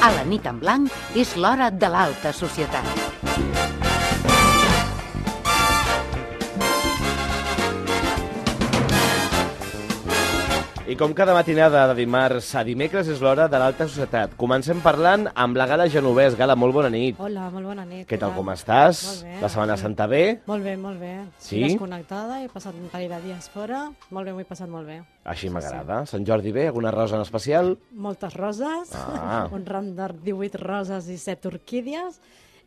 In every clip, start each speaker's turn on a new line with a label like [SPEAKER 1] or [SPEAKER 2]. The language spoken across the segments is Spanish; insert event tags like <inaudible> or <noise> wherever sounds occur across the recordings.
[SPEAKER 1] A la nit en blanc és l'hora de l'alta societat.
[SPEAKER 2] I com cada matinada de dimarts a dimecres és l'hora de l'alta societat. Comencem parlant amb la Gala Genovès. Gala, molt bona nit.
[SPEAKER 3] Hola, molt bona nit.
[SPEAKER 2] Què tal, com estàs?
[SPEAKER 3] Molt bé.
[SPEAKER 2] La Setmana Santa bé?
[SPEAKER 3] Molt bé, molt bé.
[SPEAKER 2] Sí?
[SPEAKER 3] Estic Desconnectada, he passat un parell de dies fora. Molt bé, m'ho he passat molt bé.
[SPEAKER 2] Així m'agrada. Sant Jordi bé? Alguna rosa en especial?
[SPEAKER 3] Moltes roses,
[SPEAKER 2] Ah.
[SPEAKER 3] <laughs> un ram de 18 roses i 7 orquídies,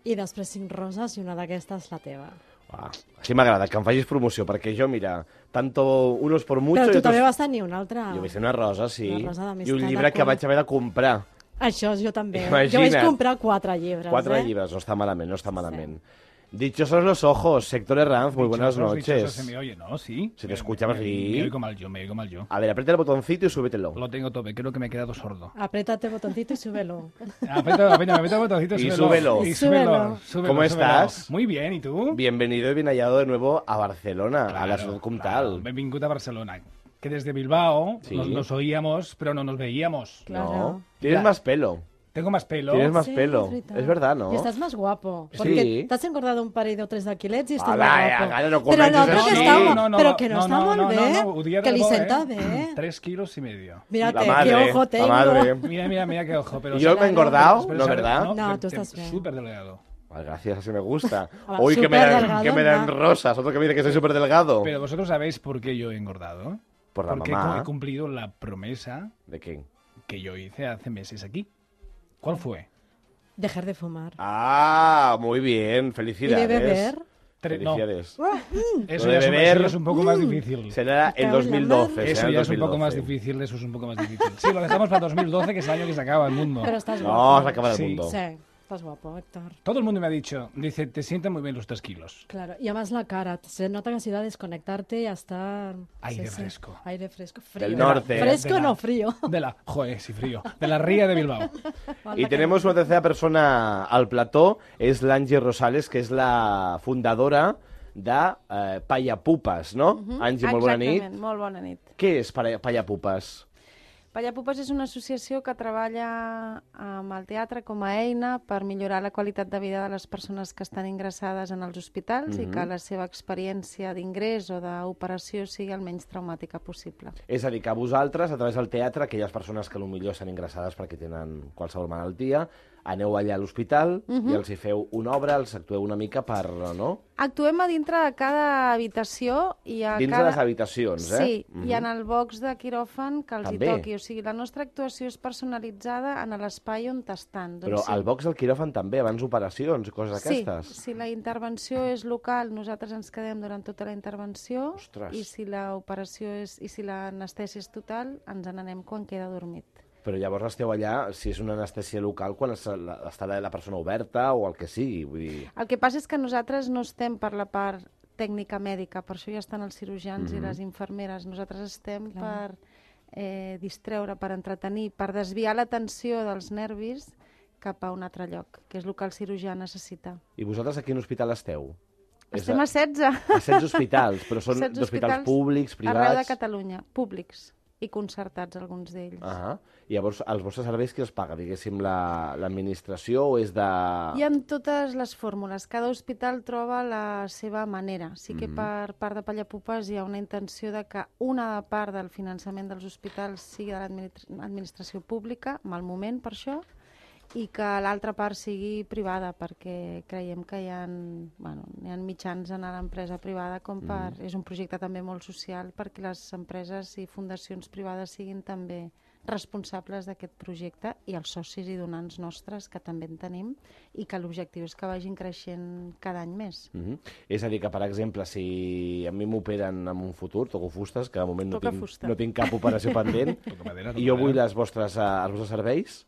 [SPEAKER 3] i després 5 roses i una d'aquestes la teva.
[SPEAKER 2] Ah, així m'agrada, que em facis promoció, perquè jo, mira, tanto unos por mucho...
[SPEAKER 3] Però
[SPEAKER 2] i
[SPEAKER 3] tu
[SPEAKER 2] otros-
[SPEAKER 3] també vas tenir una altra.
[SPEAKER 2] Jo vaig tenir una rosa, sí.
[SPEAKER 3] Una rosa d'amistat
[SPEAKER 2] I un
[SPEAKER 3] de
[SPEAKER 2] llibre que
[SPEAKER 3] cor.
[SPEAKER 2] vaig haver de comprar.
[SPEAKER 3] Això jo també. Jo vaig
[SPEAKER 2] Imagina't.
[SPEAKER 3] comprar 4 llibres,
[SPEAKER 2] Quatre
[SPEAKER 3] eh?
[SPEAKER 2] llibres, no està malament, no està malament. Dichosos los ojos, Sector Herranz, muy buenas
[SPEAKER 4] Dichosos, dichosos,
[SPEAKER 2] noches.
[SPEAKER 4] se me oye, ¿no? Sí.
[SPEAKER 2] Si te escuchamos,
[SPEAKER 4] me,
[SPEAKER 2] sí.
[SPEAKER 4] me oigo mal yo, me oigo mal yo.
[SPEAKER 2] A ver, aprieta el botoncito y súbetelo.
[SPEAKER 4] Lo tengo tope, creo que me he quedado sordo.
[SPEAKER 3] Apriétate el botoncito i súbelo.
[SPEAKER 4] Aprieta, aprieta, aprieta el botoncito
[SPEAKER 2] Y súbelo.
[SPEAKER 3] Súbelo.
[SPEAKER 4] Y súbelo. súbelo,
[SPEAKER 2] ¿Cómo
[SPEAKER 4] súbelo.
[SPEAKER 2] estás?
[SPEAKER 4] Muy bien, ¿y tú?
[SPEAKER 2] Bienvenido y bien hallado de nuevo a Barcelona, a la
[SPEAKER 4] Claro,
[SPEAKER 2] ciudad
[SPEAKER 4] claro.
[SPEAKER 2] comtal.
[SPEAKER 4] Benvingut a Barcelona. Que desde Bilbao
[SPEAKER 2] Sí.
[SPEAKER 4] nos, nos oíamos, pero no nos veíamos.
[SPEAKER 3] Claro.
[SPEAKER 2] No. Tienes
[SPEAKER 4] Ya.
[SPEAKER 2] más pelo.
[SPEAKER 4] Tengo más pelo.
[SPEAKER 2] Tienes más
[SPEAKER 3] Sí,
[SPEAKER 2] pelo.
[SPEAKER 3] és veritat.
[SPEAKER 2] Es verdad, ¿no?
[SPEAKER 3] I estàs més guapo.
[SPEAKER 2] Sí.
[SPEAKER 3] Porque t'has engordat un parell o tres de quilets i estàs
[SPEAKER 2] Hola,
[SPEAKER 3] més
[SPEAKER 2] eh,
[SPEAKER 3] guapo.
[SPEAKER 2] ara no
[SPEAKER 3] però no,
[SPEAKER 2] comencis
[SPEAKER 3] però que
[SPEAKER 2] així.
[SPEAKER 3] està,
[SPEAKER 2] No,
[SPEAKER 3] no, no, però que no, està molt bé.
[SPEAKER 4] No, no, ho diré
[SPEAKER 3] que li
[SPEAKER 4] bo, eh?
[SPEAKER 3] senta bé.
[SPEAKER 4] <clears throat> Tres kilos y medio.
[SPEAKER 3] Mírate,
[SPEAKER 2] Mm. La
[SPEAKER 3] que
[SPEAKER 2] madre,
[SPEAKER 3] ojo
[SPEAKER 2] la
[SPEAKER 3] tengo.
[SPEAKER 2] madre.
[SPEAKER 4] Mira, mira, mira qué ojo. Pero
[SPEAKER 2] Y yo me he engordado,
[SPEAKER 4] pero
[SPEAKER 2] ¿no
[SPEAKER 4] sabes-
[SPEAKER 2] verdad?
[SPEAKER 3] No,
[SPEAKER 4] pero
[SPEAKER 3] tú
[SPEAKER 4] te-
[SPEAKER 3] estás bien.
[SPEAKER 4] Súper delgado.
[SPEAKER 2] Ay, Pues gracias, así me gusta.
[SPEAKER 3] <laughs> Hola,
[SPEAKER 2] Hoy que me,
[SPEAKER 3] súper
[SPEAKER 2] dan,
[SPEAKER 3] delgado,
[SPEAKER 2] que me dan
[SPEAKER 3] ¿no?
[SPEAKER 2] rosas, otro que me dice que soy súper delgado.
[SPEAKER 4] Pero vosotros sabéis por qué yo he engordado.
[SPEAKER 2] Por la
[SPEAKER 4] Porque
[SPEAKER 2] mamá.
[SPEAKER 4] he cumplido la promesa
[SPEAKER 2] ¿De quién?
[SPEAKER 4] que yo hice hace meses aquí. ¿Cuál fue?
[SPEAKER 3] Dejar de fumar.
[SPEAKER 2] Ah, muy bien,
[SPEAKER 3] I
[SPEAKER 2] felicidades.
[SPEAKER 3] de beber. Ah.
[SPEAKER 4] Tre- no,
[SPEAKER 2] Felicidades.
[SPEAKER 4] eso
[SPEAKER 3] Mm.
[SPEAKER 2] Lo de
[SPEAKER 4] ya es un- eso
[SPEAKER 2] beber- Mm.
[SPEAKER 4] ya es un poco más difícil.
[SPEAKER 2] Será
[SPEAKER 3] Está
[SPEAKER 2] en
[SPEAKER 3] en la
[SPEAKER 2] 2012.
[SPEAKER 3] madre.
[SPEAKER 2] será
[SPEAKER 4] Eso
[SPEAKER 2] en
[SPEAKER 4] ya es un poco
[SPEAKER 2] 2012.
[SPEAKER 4] más difícil, eso es un poco más difícil. Sí, lo dejamos para 2012, que es el año que se acaba el mundo.
[SPEAKER 3] Però estàs
[SPEAKER 2] No, se
[SPEAKER 3] guapo.
[SPEAKER 2] acaba el
[SPEAKER 4] Sí.
[SPEAKER 2] mundo.
[SPEAKER 3] Sí, estàs guapo, Héctor.
[SPEAKER 4] Todo el mundo me ha dicho, dice, te sientan muy bien los tres kilos.
[SPEAKER 3] Claro, y además la cara, se nota que ha sido a desconectarte y a estar...
[SPEAKER 4] Aire fresco.
[SPEAKER 3] Aire fresco, frío.
[SPEAKER 2] Del norte.
[SPEAKER 3] Fresco
[SPEAKER 4] De la-
[SPEAKER 3] no,
[SPEAKER 4] <laughs>
[SPEAKER 3] frío.
[SPEAKER 4] De la, joder, sí frío, de la ría de Bilbao.
[SPEAKER 2] Y tenemos una tercera persona al plató, es l'Angie Rosales, que és la fundadora de eh, Pallapupes, no? Angie, molt bona nit.
[SPEAKER 5] Exactament, molt bona nit.
[SPEAKER 2] Què és Palla- Pallapupes?
[SPEAKER 5] Pallapupes és una associació que treballa amb el teatre com a eina per millorar la qualitat de vida de les persones que estan ingressades en els hospitals i
[SPEAKER 2] Mhm.
[SPEAKER 5] que la seva experiència d'ingrés o d'operació sigui el menys traumàtica possible.
[SPEAKER 2] És a dir, que vosaltres, a través del teatre, aquelles persones que potser estan ingressades perquè tenen qualsevol malaltia, aneu allà a l'hospital
[SPEAKER 5] Mhm.
[SPEAKER 2] i els hi feu una obra, els actueu una mica per... no?
[SPEAKER 5] Actuem a dintre de cada habitació i a
[SPEAKER 2] Dins
[SPEAKER 5] cada...
[SPEAKER 2] de les habitacions, eh?
[SPEAKER 5] Sí,
[SPEAKER 2] Mhm.
[SPEAKER 5] i en el box de quiròfan que els
[SPEAKER 2] També.
[SPEAKER 5] hi toqui. O sigui, la nostra actuació és personalitzada en l'espai on t'estan. Doncs
[SPEAKER 2] Però
[SPEAKER 5] sí.
[SPEAKER 2] al box del quiròfan també, abans operacions i coses d'aquestes.
[SPEAKER 5] Sí, si la intervenció és local, nosaltres ens quedem durant tota la intervenció
[SPEAKER 2] Ostres.
[SPEAKER 5] i si la operació és i si l'anestèsia és total, ens n'anem quan queda dormit.
[SPEAKER 2] Però llavors esteu allà, si és una anestèsia local, quan es- la- està la, la persona oberta o el que sigui, vull dir...
[SPEAKER 5] El que passa és que nosaltres no estem per la part tècnica mèdica, per això ja estan els cirurgians
[SPEAKER 2] Mhm.
[SPEAKER 5] mm -hmm. i les infermeres. Nosaltres estem Clar. per eh, distreure, per entretenir, per desviar l'atenció dels nervis cap a un altre lloc, que és el que el cirurgià necessita.
[SPEAKER 2] I vosaltres a quin hospital esteu?
[SPEAKER 5] Estem a 16.
[SPEAKER 2] a 16 hospitals, però
[SPEAKER 5] <laughs>
[SPEAKER 2] són
[SPEAKER 5] 16
[SPEAKER 2] d'hospitals públics,
[SPEAKER 5] Arreu de
[SPEAKER 2] privats...
[SPEAKER 5] Catalunya, públics i concertats, alguns d'ells.
[SPEAKER 2] Ah, I llavors, els vostres serveis qui els paga? Diguéssim, la- l'administració la, o és de... Ah.
[SPEAKER 5] Hi ha totes les fórmules. Cada hospital troba la seva manera. Sí que per part de Pallapupes hi ha una intenció de que una de part del finançament dels hospitals sigui de l'administració pública, mal moment per això, i que l'altra part sigui privada, perquè creiem que hi ha, bueno, hi ha mitjans en l'empresa privada com per... És un projecte també molt social perquè les empreses i fundacions privades siguin també responsables d'aquest projecte i els socis i donants nostres que també en tenim i que l'objectiu és que vagin creixent cada any més.
[SPEAKER 2] Mhm. És a dir, que, per exemple, si a mi m'operen en un futur, toco fustes, que de moment no
[SPEAKER 5] Toca
[SPEAKER 2] tinc,
[SPEAKER 5] fusta.
[SPEAKER 2] no tinc cap operació
[SPEAKER 4] <laughs>
[SPEAKER 2] pendent,
[SPEAKER 4] Toca madera, toca
[SPEAKER 2] i jo vull
[SPEAKER 4] madera.
[SPEAKER 2] les vostres, eh, els vostres serveis,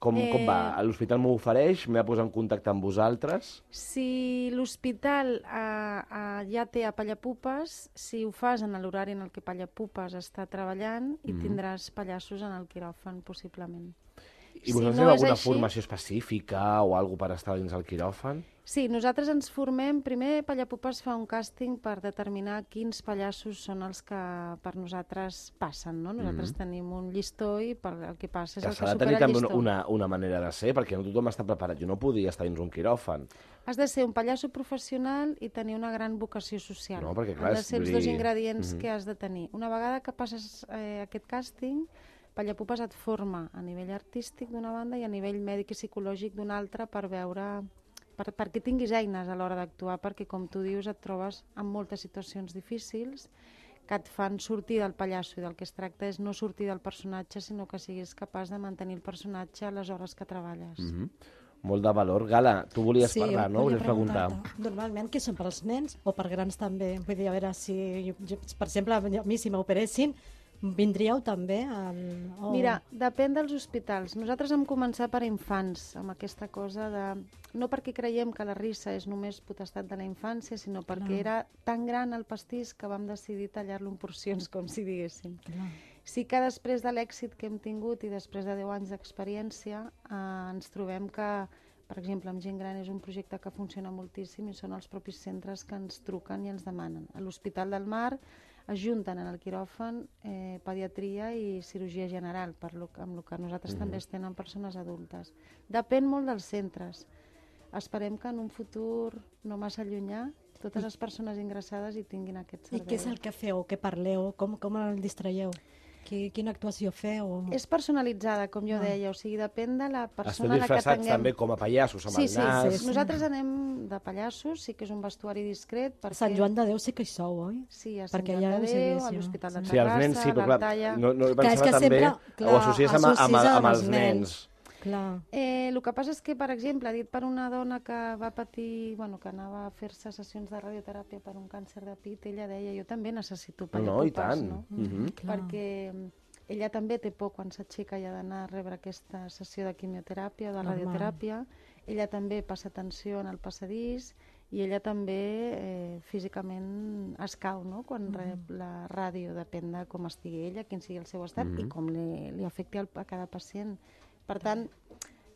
[SPEAKER 2] com, eh... com
[SPEAKER 5] Eh,
[SPEAKER 2] va? L'hospital m'ho ofereix, m'he de posar en contacte amb vosaltres...
[SPEAKER 5] Si l'hospital eh, eh, ja té a Pallapupes, si ho fas en l'horari en el
[SPEAKER 2] Mhm.
[SPEAKER 5] que Pallapupes està treballant, i tindràs pallassos en el quiròfan, possiblement.
[SPEAKER 2] I vosaltres
[SPEAKER 5] no
[SPEAKER 2] teniu
[SPEAKER 5] és
[SPEAKER 2] alguna
[SPEAKER 5] així-
[SPEAKER 2] formació específica o alguna per estar dins el quiròfan?
[SPEAKER 5] Sí, nosaltres ens formem... Primer, Pallapopes fa un càsting per determinar quins pallassos són els que per nosaltres passen, no? Nosaltres tenim un llistó i per el que passa és
[SPEAKER 2] Mhm. Que
[SPEAKER 5] el que
[SPEAKER 2] s'ha de
[SPEAKER 5] supera
[SPEAKER 2] tenir
[SPEAKER 5] el
[SPEAKER 2] també
[SPEAKER 5] llistó.
[SPEAKER 2] una, una, una manera de ser, perquè no tothom està preparat. Jo no podia estar dins un quiròfan.
[SPEAKER 5] Has de ser un pallasso professional i tenir una gran vocació social.
[SPEAKER 2] No, perquè, clar,
[SPEAKER 5] Han de
[SPEAKER 2] és-
[SPEAKER 5] ser els
[SPEAKER 2] vull
[SPEAKER 5] dos
[SPEAKER 2] dir-
[SPEAKER 5] ingredients que has de tenir. Una vegada que passes eh, aquest càsting, Pallapopes et forma a nivell artístic d'una banda i a nivell mèdic i psicològic d'una altra per veure... Per, perquè tinguis eines a l'hora d'actuar, perquè, com tu dius, et trobes en moltes situacions difícils que et fan sortir del pallasso i del que es tracta és no sortir del personatge, sinó que siguis capaç de mantenir el personatge a les hores que treballes.
[SPEAKER 2] Molt de valor. Gala, tu volies parlar, no?
[SPEAKER 3] volia
[SPEAKER 2] Volies preguntar.
[SPEAKER 3] preguntar-te, Normalment, que són per als nens o per grans també? Vull dir, a veure, si, jo, jo, per exemple, a mi si m'operessin, vindríeu també? Al, o...
[SPEAKER 5] Mira, depèn dels hospitals. Nosaltres hem començat per infants, amb aquesta cosa de... No perquè creiem que la rissa és només potestat de la infància, sinó perquè
[SPEAKER 3] Clar.
[SPEAKER 5] era tan gran el pastís que vam decidir tallar-lo en porcions, com si diguéssim.
[SPEAKER 3] Clar.
[SPEAKER 5] Sí que després de l'èxit que hem tingut i després de 10 anys d'experiència, eh, ens trobem que, per exemple, amb gent gran és un projecte que funciona moltíssim i són els propis centres que ens truquen i ens demanen. A l'Hospital del Mar es junten en el quiròfan eh, pediatria i cirurgia general, per lo, que- amb el que nosaltres també
[SPEAKER 3] Mhm.
[SPEAKER 5] estem en persones adultes. Depèn molt dels centres. Esperem que en un futur no massa llunyà totes les persones ingressades hi tinguin aquest
[SPEAKER 3] I
[SPEAKER 5] servei.
[SPEAKER 3] què és el que feu? Què parleu? Com, com el distraieu? Qui, quina actuació feu?
[SPEAKER 5] És personalitzada, com
[SPEAKER 3] Ah.
[SPEAKER 5] jo deia, o sigui, depèn de la
[SPEAKER 2] Esteu
[SPEAKER 5] persona a la que
[SPEAKER 2] disfressats
[SPEAKER 5] tinguem.
[SPEAKER 2] també com a pallassos, amb
[SPEAKER 5] sí,
[SPEAKER 2] el
[SPEAKER 5] sí,
[SPEAKER 2] nas...
[SPEAKER 5] sí, sí. Nosaltres anem de pallassos, sí que és un vestuari discret.
[SPEAKER 3] Per
[SPEAKER 5] Perquè...
[SPEAKER 3] Sant Joan de Déu sí que hi sou, oi?
[SPEAKER 5] Sí, a Sant
[SPEAKER 3] perquè
[SPEAKER 5] Joan
[SPEAKER 3] ja ho
[SPEAKER 5] de
[SPEAKER 3] sé,
[SPEAKER 5] Déu,
[SPEAKER 3] sí,
[SPEAKER 5] a l'Hospital de
[SPEAKER 3] sí.
[SPEAKER 2] Sí, els
[SPEAKER 5] Terrassa,
[SPEAKER 2] nens sí,
[SPEAKER 5] a
[SPEAKER 2] però clar,
[SPEAKER 5] l'Artalla...
[SPEAKER 2] no, no
[SPEAKER 3] Clar, és
[SPEAKER 2] pensava
[SPEAKER 3] que
[SPEAKER 2] també...
[SPEAKER 3] sempre, clar,
[SPEAKER 2] ho associes amb, amb,
[SPEAKER 3] associes
[SPEAKER 2] amb,
[SPEAKER 3] amb
[SPEAKER 2] amb els
[SPEAKER 3] els
[SPEAKER 2] nens.
[SPEAKER 3] Clar.
[SPEAKER 5] Eh, el que passa és que, per exemple, dit per una dona que va patir, bueno, que anava a fer-se sessions de radioteràpia per un càncer de pit, ella deia, jo també necessito
[SPEAKER 2] No, no, i tant.
[SPEAKER 5] no?
[SPEAKER 2] Mhm.
[SPEAKER 3] Clar.
[SPEAKER 5] perquè mm, ella també té por quan s'aixeca i ha d'anar a rebre aquesta sessió de quimioteràpia, de
[SPEAKER 3] Normal.
[SPEAKER 5] radioteràpia. Ella també passa tensió en el passadís i ella també eh, físicament es cau no? quan
[SPEAKER 3] Mm.
[SPEAKER 5] rep la ràdio, depèn de com estigui ella, quin sigui el seu estat
[SPEAKER 3] Mm-hmm.
[SPEAKER 5] i com li, li afecti al, a cada pacient. Per tant,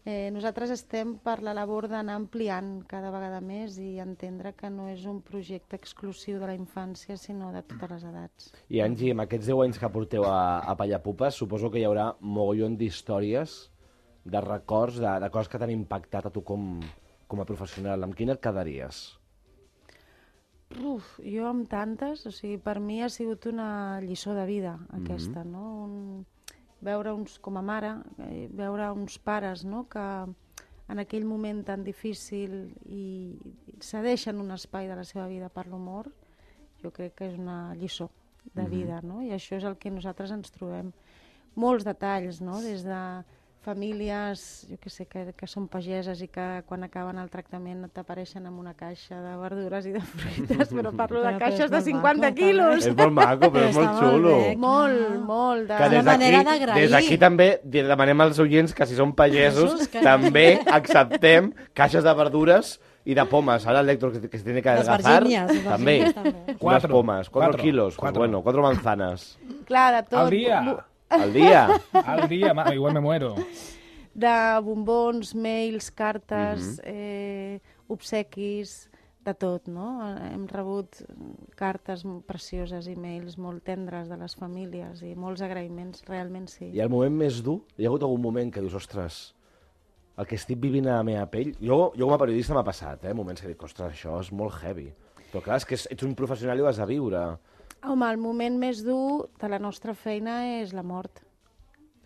[SPEAKER 5] eh, nosaltres estem per la labor d'anar ampliant cada vegada més i entendre que no és un projecte exclusiu de la infància, sinó de totes les edats.
[SPEAKER 2] I Angie, amb aquests 10 anys que porteu a, a Pallapupes, suposo que hi haurà mogollon d'històries, de records, de, de coses que t'han impactat a tu com, com a professional. Amb quina et quedaries?
[SPEAKER 5] Uf, jo amb tantes, o sigui, per mi ha sigut una lliçó de vida aquesta, no? Un, veure uns, com a mare, eh, veure uns pares, no?, que en aquell moment tan difícil i i cedeixen un espai de la seva vida per l'humor, jo crec que és una lliçó de vida, no? I això és el que nosaltres ens trobem. Molts detalls, no? Des de famílies, jo que sé, que, que són pageses i que quan acaben el tractament t'apareixen amb una caixa de verdures i de fruites, però <laughs> parlo de
[SPEAKER 3] Però- però és
[SPEAKER 5] caixes de
[SPEAKER 3] molt
[SPEAKER 5] 50
[SPEAKER 3] maco,
[SPEAKER 5] quilos.
[SPEAKER 2] És molt maco, però és
[SPEAKER 3] Està
[SPEAKER 2] molt
[SPEAKER 3] molt
[SPEAKER 2] xulo.
[SPEAKER 3] bé.
[SPEAKER 5] Molt, molt. De...
[SPEAKER 2] Que des
[SPEAKER 3] una manera
[SPEAKER 2] d'aquí-
[SPEAKER 3] d'agrair.
[SPEAKER 2] des d'aquí també de- demanem als oients que si són pagesos
[SPEAKER 3] Pagesos, que-
[SPEAKER 2] també acceptem caixes de verdures i de pomes. Ara el Héctor que, que se tiene que
[SPEAKER 3] Les
[SPEAKER 2] adelgazar,
[SPEAKER 3] Virgínies, les
[SPEAKER 2] també.
[SPEAKER 3] Virgínies també.
[SPEAKER 2] Unes
[SPEAKER 4] Quatre.
[SPEAKER 2] pomes, 4
[SPEAKER 4] Quatre.
[SPEAKER 2] quilos, pues
[SPEAKER 4] Quatre.
[SPEAKER 2] bueno, 4 manzanas
[SPEAKER 5] Clar, de tot.
[SPEAKER 4] Al dia.
[SPEAKER 2] al dia.
[SPEAKER 4] Al día, ma- igual me muero.
[SPEAKER 5] de bombons, mails, cartes, eh, obsequis, de tot, no? Hem rebut cartes m- precioses i mails molt tendres de les famílies i molts agraïments, realment sí.
[SPEAKER 2] I el moment més dur, hi ha hagut algun moment que dius, ostres, el que estic vivint a la meva pell... Jo, jo com a periodista m'ha passat, eh? Moments que dic, ostres, això és molt heavy. Però clar, és que és- ets un professional i ho has de viure.
[SPEAKER 5] Home, el moment més dur de la nostra feina és la mort.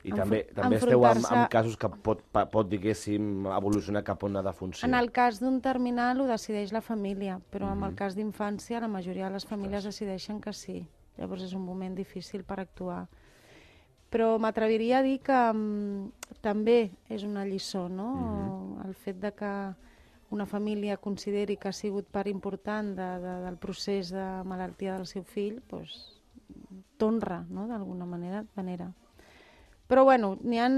[SPEAKER 2] I
[SPEAKER 5] Enfro-
[SPEAKER 2] també, també esteu amb,
[SPEAKER 5] enfrontar-se-
[SPEAKER 2] amb casos que pot, pa- pot, diguéssim, evolucionar cap on ha de
[SPEAKER 5] En
[SPEAKER 2] funcionar.
[SPEAKER 5] el cas d'un terminal ho decideix la família, però en el cas d'infància la majoria de les famílies decideixen que sí. Llavors és un moment difícil per actuar. Però m'atreviria a dir que mm, també és una lliçó, no? El fet de que una família consideri que ha sigut part important de, de, del procés de malaltia del seu fill, doncs, t'honra, no? D'alguna manera, et venera. Però bueno, n'hi han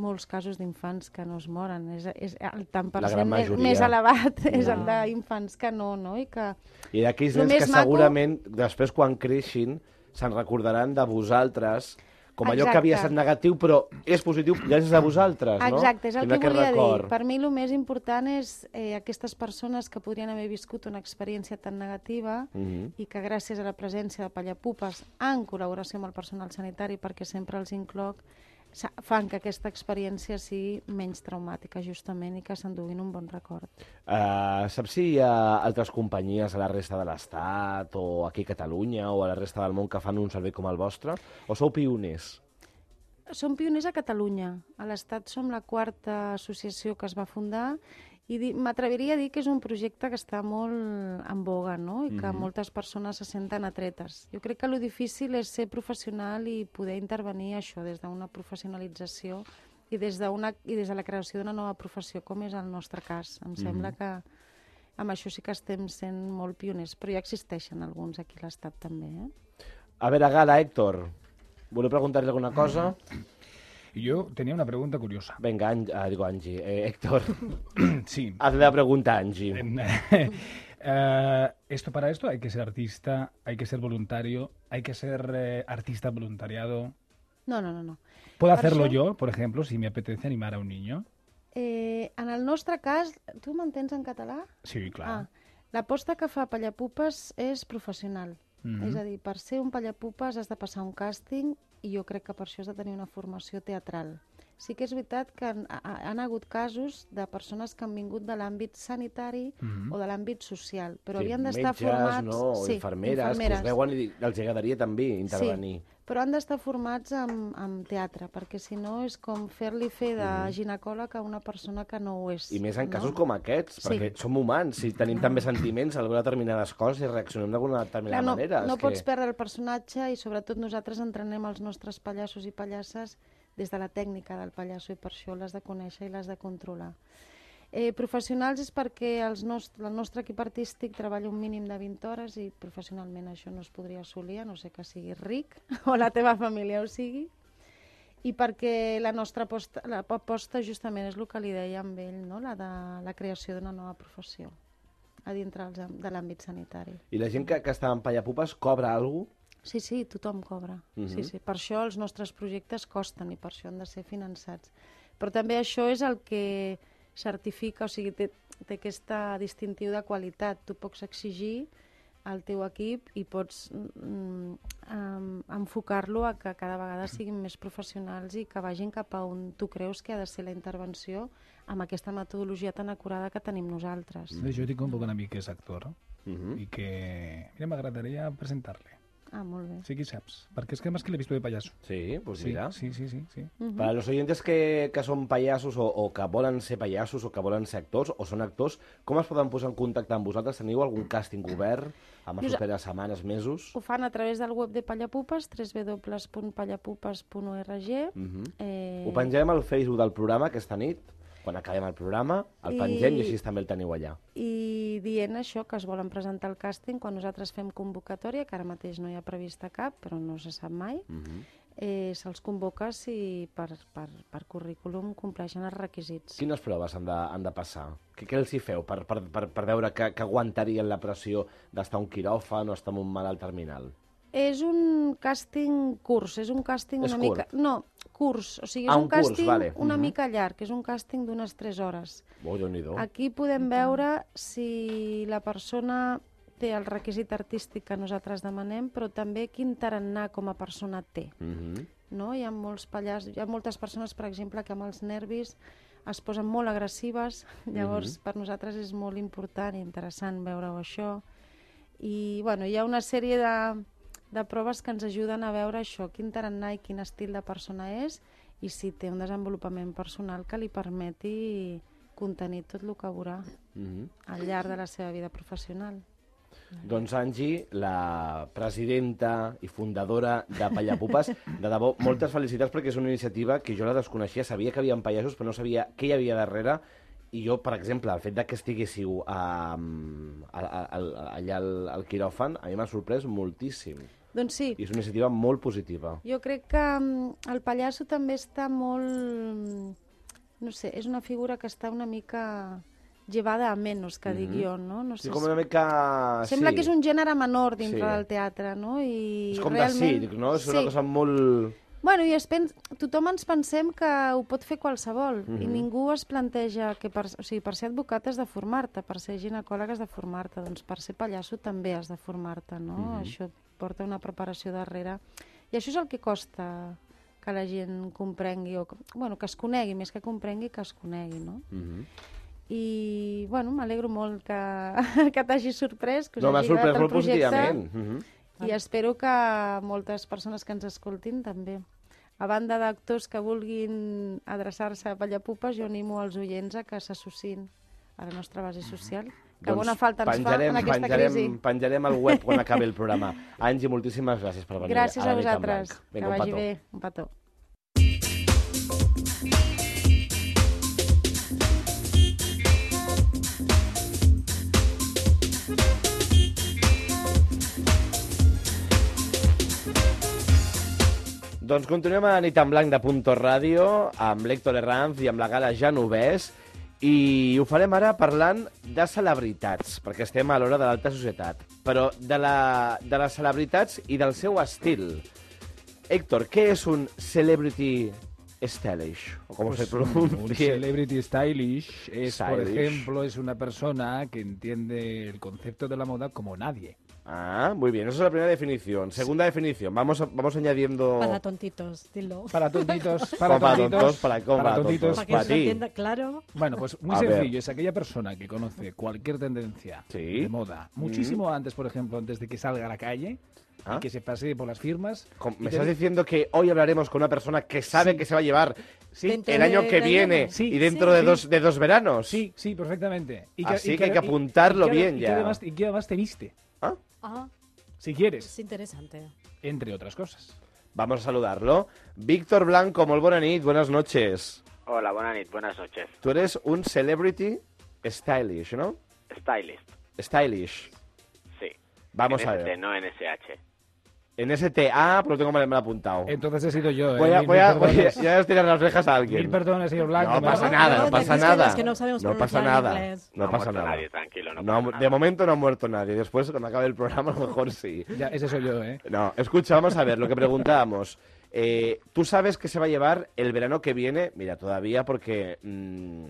[SPEAKER 5] molts casos d'infants que no es moren. És, és el tant per
[SPEAKER 2] La
[SPEAKER 5] cent
[SPEAKER 2] gran
[SPEAKER 5] més,
[SPEAKER 2] majoria.
[SPEAKER 5] més elevat és el d'infants que no, no? I que...
[SPEAKER 2] I d'aquells
[SPEAKER 5] Lo
[SPEAKER 2] nens
[SPEAKER 5] més
[SPEAKER 2] que
[SPEAKER 5] maco-
[SPEAKER 2] segurament, després quan creixin, se'n recordaran de vosaltres com allò que havia
[SPEAKER 5] Exacte.
[SPEAKER 2] estat negatiu, però és positiu gràcies a vosaltres, no?
[SPEAKER 5] Exacte, és el
[SPEAKER 2] Tindrà
[SPEAKER 5] que
[SPEAKER 2] aquest
[SPEAKER 5] volia
[SPEAKER 2] record.
[SPEAKER 5] dir. Per mi el més important és eh, aquestes persones que podrien haver viscut una experiència tan negativa
[SPEAKER 2] Mhm.
[SPEAKER 5] i que gràcies a la presència de Pallapupes en col·laboració amb el personal sanitari, perquè sempre els incloc, sa- fan que aquesta experiència sigui menys traumàtica, justament, i que s'enduguin un bon record.
[SPEAKER 2] Eh, saps si hi ha altres companyies a la resta de l'Estat o aquí a Catalunya o a la resta del món que fan un servei com el vostre? O sou pioners?
[SPEAKER 5] Som pioners a Catalunya. A l'Estat som la quarta associació que es va fundar i di- m'atreviria a dir que és un projecte que està molt en boga no? i que moltes persones se senten atretes. Jo crec que lo difícil és ser professional i poder intervenir això des d'una professionalització i des, d'una, i des de la creació d'una nova professió, com és el nostre cas. Em sembla que amb això sí que estem sent molt pioners, però ja existeixen alguns aquí a l'Estat també. Eh?
[SPEAKER 2] A veure, Gala, Héctor, voleu preguntar-li alguna cosa?
[SPEAKER 4] Y yo tenía una pregunta curiosa. <clears throat>
[SPEAKER 2] Vinga, An ah, digo Angie, eh, Héctor,
[SPEAKER 4] Sí.
[SPEAKER 2] haz la pregunta, Angie.
[SPEAKER 4] <laughs> Eh, esto para esto hay que ser artista, hay que ser voluntario, hay que ser eh, artista voluntariado.
[SPEAKER 5] No, no, no, no.
[SPEAKER 4] ¿Puedo
[SPEAKER 5] Per
[SPEAKER 4] hacerlo
[SPEAKER 5] això-
[SPEAKER 4] yo, por ejemplo, si me apetece animar a un niño?
[SPEAKER 5] Eh, en el nostre cas, tu m'entens en català?
[SPEAKER 4] Sí, claro.
[SPEAKER 5] Ah, l'aposta que fa Pallapupes és professional.
[SPEAKER 4] Mhm.
[SPEAKER 2] Mm-hmm.
[SPEAKER 5] És a dir, per ser un Pallapupes has de passar un càsting i jo crec que per això has de tenir una formació teatral. Sí que és veritat que han, ha- han hagut casos de persones que han vingut de l'àmbit sanitari
[SPEAKER 4] Mhm.
[SPEAKER 5] o de l'àmbit social,
[SPEAKER 2] Mm-hmm.
[SPEAKER 5] però
[SPEAKER 2] Sí,
[SPEAKER 5] havien d'estar
[SPEAKER 2] metges,
[SPEAKER 5] formats...
[SPEAKER 2] No? Sí, infermeres, que us veuen i di- els agradaria també intervenir.
[SPEAKER 5] Sí, però han d'estar formats amb, amb teatre, perquè si no és com fer-li fer de ginecòleg a una persona que no ho és.
[SPEAKER 2] Mm-hmm. I més en
[SPEAKER 5] no?
[SPEAKER 2] casos com aquests,
[SPEAKER 5] Sí.
[SPEAKER 2] perquè som humans, si tenim també sentiments, al veure determinades coses i reaccionem d'alguna determinada
[SPEAKER 5] Clar, no,
[SPEAKER 2] manera.
[SPEAKER 5] no
[SPEAKER 2] és
[SPEAKER 5] pots
[SPEAKER 2] que...
[SPEAKER 5] perdre el personatge i sobretot nosaltres entrenem els nostres pallassos i pallasses des de la tècnica del pallasso i per això l'has de conèixer i l'has de controlar. Eh, professionals és perquè els nost el nostre equip artístic treballa un mínim de 20 hores i professionalment això no es podria assolir, a no sé que siguis ric <laughs> o la teva família ho sigui. I perquè la nostra aposta, la aposta justament és el que li deia amb ell, no? la de la creació d'una nova professió a dintre els am- de l'àmbit sanitari.
[SPEAKER 2] I la gent que, que està en Pallapupes cobra alguna cosa?
[SPEAKER 5] Sí, sí, tothom cobra. Uh -huh. sí, sí. Per això els nostres projectes costen i per això han de ser finançats. Però també això és el que certifica, o sigui, té, té aquesta distintiu de qualitat. Tu pots exigir al teu equip i pots mm, em- enfocar-lo a que cada vegada siguin més professionals i que vagin cap a on tu creus que ha de ser la intervenció amb aquesta metodologia tan acurada que tenim nosaltres.
[SPEAKER 4] Entonces, Yo tengo un poco un amigo que es actor
[SPEAKER 2] Mhm.
[SPEAKER 4] y que... Mira, me agradaría presentarle.
[SPEAKER 5] Ah, molt bé.
[SPEAKER 4] Sí que saps. Porque es que además que le he visto de payaso.
[SPEAKER 2] Sí, doncs
[SPEAKER 4] Sí,
[SPEAKER 2] Pues mira.
[SPEAKER 4] sí, sí, sí. sí.
[SPEAKER 5] Mhm.
[SPEAKER 2] Para los oyentes que, que són pallassos o, o que volen ser pallassos o que volen ser actors o són actors, com es poden posar en contacte amb vosaltres? Teniu algun càsting obert amb les
[SPEAKER 5] Nosa-
[SPEAKER 2] properes setmanes, mesos?
[SPEAKER 5] Ho fan a través del web de Pallapupes, www.pallapupes.org.
[SPEAKER 2] Mhm.
[SPEAKER 5] Eh,
[SPEAKER 2] Ho pengem al Facebook del programa aquesta nit, quan acabem el programa, el
[SPEAKER 5] I-
[SPEAKER 2] pengem i així també el teniu allà.
[SPEAKER 5] I dient això, que es volen presentar al càsting quan nosaltres fem convocatòria, que ara mateix no hi ha prevista cap, però no se sap mai, eh, se'ls convoca si per, per, per currículum compleixen els requisits.
[SPEAKER 2] Quines proves han de, han de passar? Què, què els hi feu per, per, per, per veure que, que aguantarien la pressió d'estar a un quiròfan o estar en un malalt terminal?
[SPEAKER 5] És un càsting curs, és un càsting
[SPEAKER 2] És
[SPEAKER 5] una mica...
[SPEAKER 2] curt.
[SPEAKER 5] No, curs, o sigui, és
[SPEAKER 2] Ah,
[SPEAKER 5] un,
[SPEAKER 2] un curs,
[SPEAKER 5] càsting
[SPEAKER 2] vale.
[SPEAKER 5] una
[SPEAKER 2] Mhm.
[SPEAKER 5] mica llarg, és un càsting d'unes 3 hores.
[SPEAKER 2] Oh, déu nhi
[SPEAKER 5] Aquí podem veure si la persona té el requisit artístic que nosaltres demanem, però també quin tarannà com a persona té.
[SPEAKER 2] Mhm.
[SPEAKER 5] No? Hi, ha molts pallas, hi ha moltes persones, per exemple, que amb els nervis es posen molt agressives, llavors per nosaltres és molt important i interessant veure-ho això. I bueno, hi ha una sèrie de, de proves que ens ajuden a veure això, quin tarannà i quin estil de persona és i si té un desenvolupament personal que li permeti contenir tot el que veurà
[SPEAKER 2] Mhm.
[SPEAKER 5] al llarg de la seva vida professional.
[SPEAKER 2] Doncs Angie, la presidenta i fundadora de Pallapupes, de debò, moltes felicitats perquè és una iniciativa que jo la desconeixia, sabia que hi havia pallassos, però no sabia què hi havia darrere, i jo, per exemple, el fet de que estiguéssiu um, a, a, a, allà al, al quiròfan, a mi m'ha sorprès moltíssim.
[SPEAKER 5] Doncs sí,
[SPEAKER 2] I és una iniciativa molt positiva.
[SPEAKER 5] Jo crec que mm, el pallasso també està molt... mm, No sé, és una figura que està una mica llevada a menys, que dic jo, no? no
[SPEAKER 2] Mhm. Sí,
[SPEAKER 5] sé,
[SPEAKER 2] com una mica...
[SPEAKER 5] Sembla
[SPEAKER 2] sí.
[SPEAKER 5] que és un gènere menor dintre
[SPEAKER 2] Sí.
[SPEAKER 5] del teatre, no? I
[SPEAKER 2] És com
[SPEAKER 5] realment...
[SPEAKER 2] de circ, no? És una
[SPEAKER 5] sí.
[SPEAKER 2] cosa molt...
[SPEAKER 5] Bueno, i es pens... tothom ens pensem que ho pot fer qualsevol mm -hmm. i
[SPEAKER 2] Mhm.
[SPEAKER 5] ningú es planteja que per, o sigui, per ser advocat has de formar-te, per ser ginecòleg has de formar-te, doncs per ser pallasso també has de formar-te, no?
[SPEAKER 2] Mhm.
[SPEAKER 5] Això porta una preparació darrere. I això és el que costa que la gent comprengui, o que, bueno, que es conegui, més que comprengui, que es conegui, no?
[SPEAKER 2] Mhm.
[SPEAKER 5] I, bueno, m'alegro molt que, <laughs> que t'hagi sorprès, que us
[SPEAKER 2] No, m'ha
[SPEAKER 5] hagi agradat
[SPEAKER 2] sorprès
[SPEAKER 5] el
[SPEAKER 2] molt
[SPEAKER 5] projecte.
[SPEAKER 2] positivament. Mhm.
[SPEAKER 5] I espero que moltes persones que ens escoltin també. A banda d'actors que vulguin adreçar-se a Pallapupes, jo animo els oients a que s'associïn a la nostra base social, que
[SPEAKER 2] Doncs
[SPEAKER 5] bona falta ens
[SPEAKER 2] penjarem,
[SPEAKER 5] fa en aquesta
[SPEAKER 2] penjarem,
[SPEAKER 5] crisi.
[SPEAKER 2] Penjarem al web quan acabi el
[SPEAKER 5] <laughs>
[SPEAKER 2] programa. Angie, moltíssimes gràcies per venir
[SPEAKER 5] Gràcies
[SPEAKER 2] a, la
[SPEAKER 5] a
[SPEAKER 2] Nit en
[SPEAKER 5] vosaltres.
[SPEAKER 2] Blanc.
[SPEAKER 5] Que
[SPEAKER 2] Vinga, un
[SPEAKER 5] vagi
[SPEAKER 2] petó.
[SPEAKER 5] bé. Un petó.
[SPEAKER 2] Doncs continuem a Nit en Blanc de Punto Ràdio amb l'Héctor Herranz i amb la Gala Genovès i ho farem ara parlant de celebritats, perquè estem a l'hora de l'alta societat, però de, la, de les celebritats i del seu estil. Héctor, què és un celebrity stylish? O com se
[SPEAKER 4] Pues Un
[SPEAKER 2] pronuncia?
[SPEAKER 4] celebrity stylish es, por
[SPEAKER 2] Stylish.
[SPEAKER 4] ejemplo, es una persona que entiende el concepto de la moda como nadie.
[SPEAKER 2] Ah, muy bien, esa es la primera definición. Segunda definición, vamos, a- vamos añadiendo...
[SPEAKER 3] Para tontitos, dilo.
[SPEAKER 4] Para
[SPEAKER 3] <laughs>
[SPEAKER 4] tontitos,
[SPEAKER 2] Para
[SPEAKER 4] para
[SPEAKER 2] tontos,
[SPEAKER 4] tontitos,
[SPEAKER 2] para- ¿cómo para
[SPEAKER 4] tontitos.
[SPEAKER 2] tontos?
[SPEAKER 3] Para que
[SPEAKER 2] pa'
[SPEAKER 3] se lo
[SPEAKER 2] ti.
[SPEAKER 3] entienda claro.
[SPEAKER 4] Bueno, pues muy
[SPEAKER 2] A ver.
[SPEAKER 4] sencillo, es aquella persona que conoce cualquier tendencia
[SPEAKER 2] Sí. Mm.
[SPEAKER 4] de moda, muchísimo antes, por ejemplo, antes de que salga a la calle,
[SPEAKER 2] Ah.
[SPEAKER 4] y que se pase por las firmas.
[SPEAKER 2] Com-
[SPEAKER 4] y
[SPEAKER 2] Me
[SPEAKER 4] te
[SPEAKER 2] estás
[SPEAKER 4] dice-
[SPEAKER 2] diciendo que hoy hablaremos con una persona que sabe que se va a llevar
[SPEAKER 3] Dentro
[SPEAKER 2] el
[SPEAKER 3] de-
[SPEAKER 2] año que
[SPEAKER 3] del
[SPEAKER 2] viene
[SPEAKER 3] verano.
[SPEAKER 4] Sí,
[SPEAKER 2] y dentro
[SPEAKER 4] sí,
[SPEAKER 2] de,
[SPEAKER 4] sí.
[SPEAKER 2] dos, de dos veranos.
[SPEAKER 4] Sí, sí, perfectamente. Y
[SPEAKER 2] Así que hay que apuntarlo
[SPEAKER 4] y que-
[SPEAKER 2] bien
[SPEAKER 4] y que
[SPEAKER 2] ya.
[SPEAKER 4] además- y que además te viste,
[SPEAKER 2] Ah,
[SPEAKER 3] Ah,
[SPEAKER 4] si quieres,
[SPEAKER 3] es interesante.
[SPEAKER 4] entre otras cosas.
[SPEAKER 2] Vamos a saludarlo. Víctor Blanco, muy buena nit, buenas noches.
[SPEAKER 6] Hola, buenas noches. Buenas noches.
[SPEAKER 2] Tú eres un celebrity stylish, ¿no?
[SPEAKER 6] Stylist.
[SPEAKER 2] Stylish.
[SPEAKER 6] Sí.
[SPEAKER 2] Vamos
[SPEAKER 6] en
[SPEAKER 2] a
[SPEAKER 6] ST,
[SPEAKER 2] ver.
[SPEAKER 6] no en SH.
[SPEAKER 2] En STA, pero pues lo tengo mal mal apuntado.
[SPEAKER 4] Entonces he sido yo.
[SPEAKER 2] Oh.
[SPEAKER 4] ¿eh?
[SPEAKER 2] Voy a,
[SPEAKER 4] Mil-
[SPEAKER 2] voy a, <laughs>
[SPEAKER 4] mil perdones.
[SPEAKER 2] voy a- ya os tirar las orejas a alguien.
[SPEAKER 4] Mil perdones, señor Blanco.
[SPEAKER 2] No
[SPEAKER 4] me
[SPEAKER 2] pasa
[SPEAKER 4] va-
[SPEAKER 2] nada,
[SPEAKER 3] No,
[SPEAKER 2] no
[SPEAKER 3] te
[SPEAKER 2] pasa
[SPEAKER 3] dices que
[SPEAKER 2] nada.
[SPEAKER 3] es que no sabemos
[SPEAKER 2] pasa
[SPEAKER 3] pronunciar
[SPEAKER 2] nada.
[SPEAKER 3] inglés.
[SPEAKER 2] No
[SPEAKER 6] ha
[SPEAKER 2] pasa
[SPEAKER 6] muerto
[SPEAKER 2] nada.
[SPEAKER 6] nadie, tranquilo, no
[SPEAKER 2] No,
[SPEAKER 6] pasa nada.
[SPEAKER 2] de momento no ha muerto nadie. Después, cuando acabe el programa, a lo mejor sí.
[SPEAKER 4] <laughs> Ya, ese soy yo, ¿eh?
[SPEAKER 2] No, escucha, vamos a ver lo que preguntábamos. Eh, Tú sabes que se va a llevar el verano que viene, mira, todavía porque mm,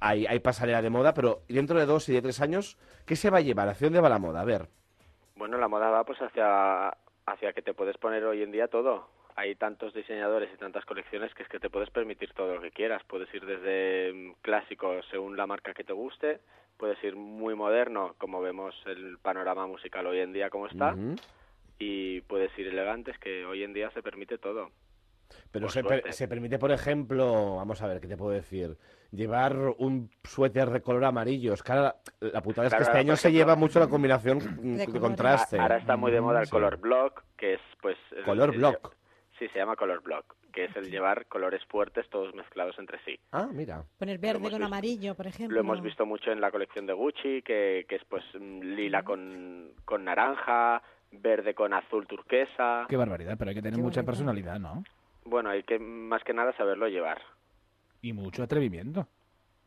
[SPEAKER 2] hay, hay pasarela de moda, pero dentro de dos y de tres años, ¿qué se va a llevar? ¿Hacia dónde va la moda? A ver.
[SPEAKER 6] Bueno, la moda va pues hacia, hacia que te puedes poner hoy en día todo. Hay tantos diseñadores y tantas colecciones que es que te puedes permitir todo lo que quieras. Puedes ir desde mm, clásico según la marca que te guste, puedes ir muy moderno, como vemos el panorama musical hoy en día como está,
[SPEAKER 2] Ujú.
[SPEAKER 6] y puedes ir elegantes, que hoy en día se permite todo.
[SPEAKER 2] Pero
[SPEAKER 6] Por
[SPEAKER 2] se, per-
[SPEAKER 6] suerte.
[SPEAKER 2] se permite, por ejemplo, vamos a ver, ¿qué te puedo decir? Llevar un suéter de color amarillo. Es que ahora la, la putada es
[SPEAKER 6] Claro,
[SPEAKER 2] que este
[SPEAKER 6] ahora,
[SPEAKER 2] año
[SPEAKER 6] por
[SPEAKER 2] se
[SPEAKER 6] ejemplo,
[SPEAKER 2] lleva mucho la combinación mm, de
[SPEAKER 3] colores.
[SPEAKER 2] contraste.
[SPEAKER 6] Ahora está muy de moda el
[SPEAKER 2] Sí.
[SPEAKER 6] color block, que es pues... el-
[SPEAKER 2] Color
[SPEAKER 6] el-
[SPEAKER 2] block.
[SPEAKER 6] Sí, se llama color block, que es el llevar colores fuertes todos mezclados entre sí.
[SPEAKER 2] Ah, mira.
[SPEAKER 3] Poner
[SPEAKER 6] Lo
[SPEAKER 3] verde
[SPEAKER 6] hemos
[SPEAKER 3] con
[SPEAKER 6] visto.
[SPEAKER 3] amarillo, por ejemplo.
[SPEAKER 6] Lo hemos visto mucho en la colección de Gucci, que, que es pues mm, lila con, con naranja, verde con azul turquesa.
[SPEAKER 4] Qué barbaridad, pero hay que tener
[SPEAKER 3] Qué
[SPEAKER 4] mucha
[SPEAKER 3] barbaridad.
[SPEAKER 4] personalidad, ¿no?
[SPEAKER 6] Bueno, hay que más que nada saberlo llevar.
[SPEAKER 4] Y mucho atrevimiento.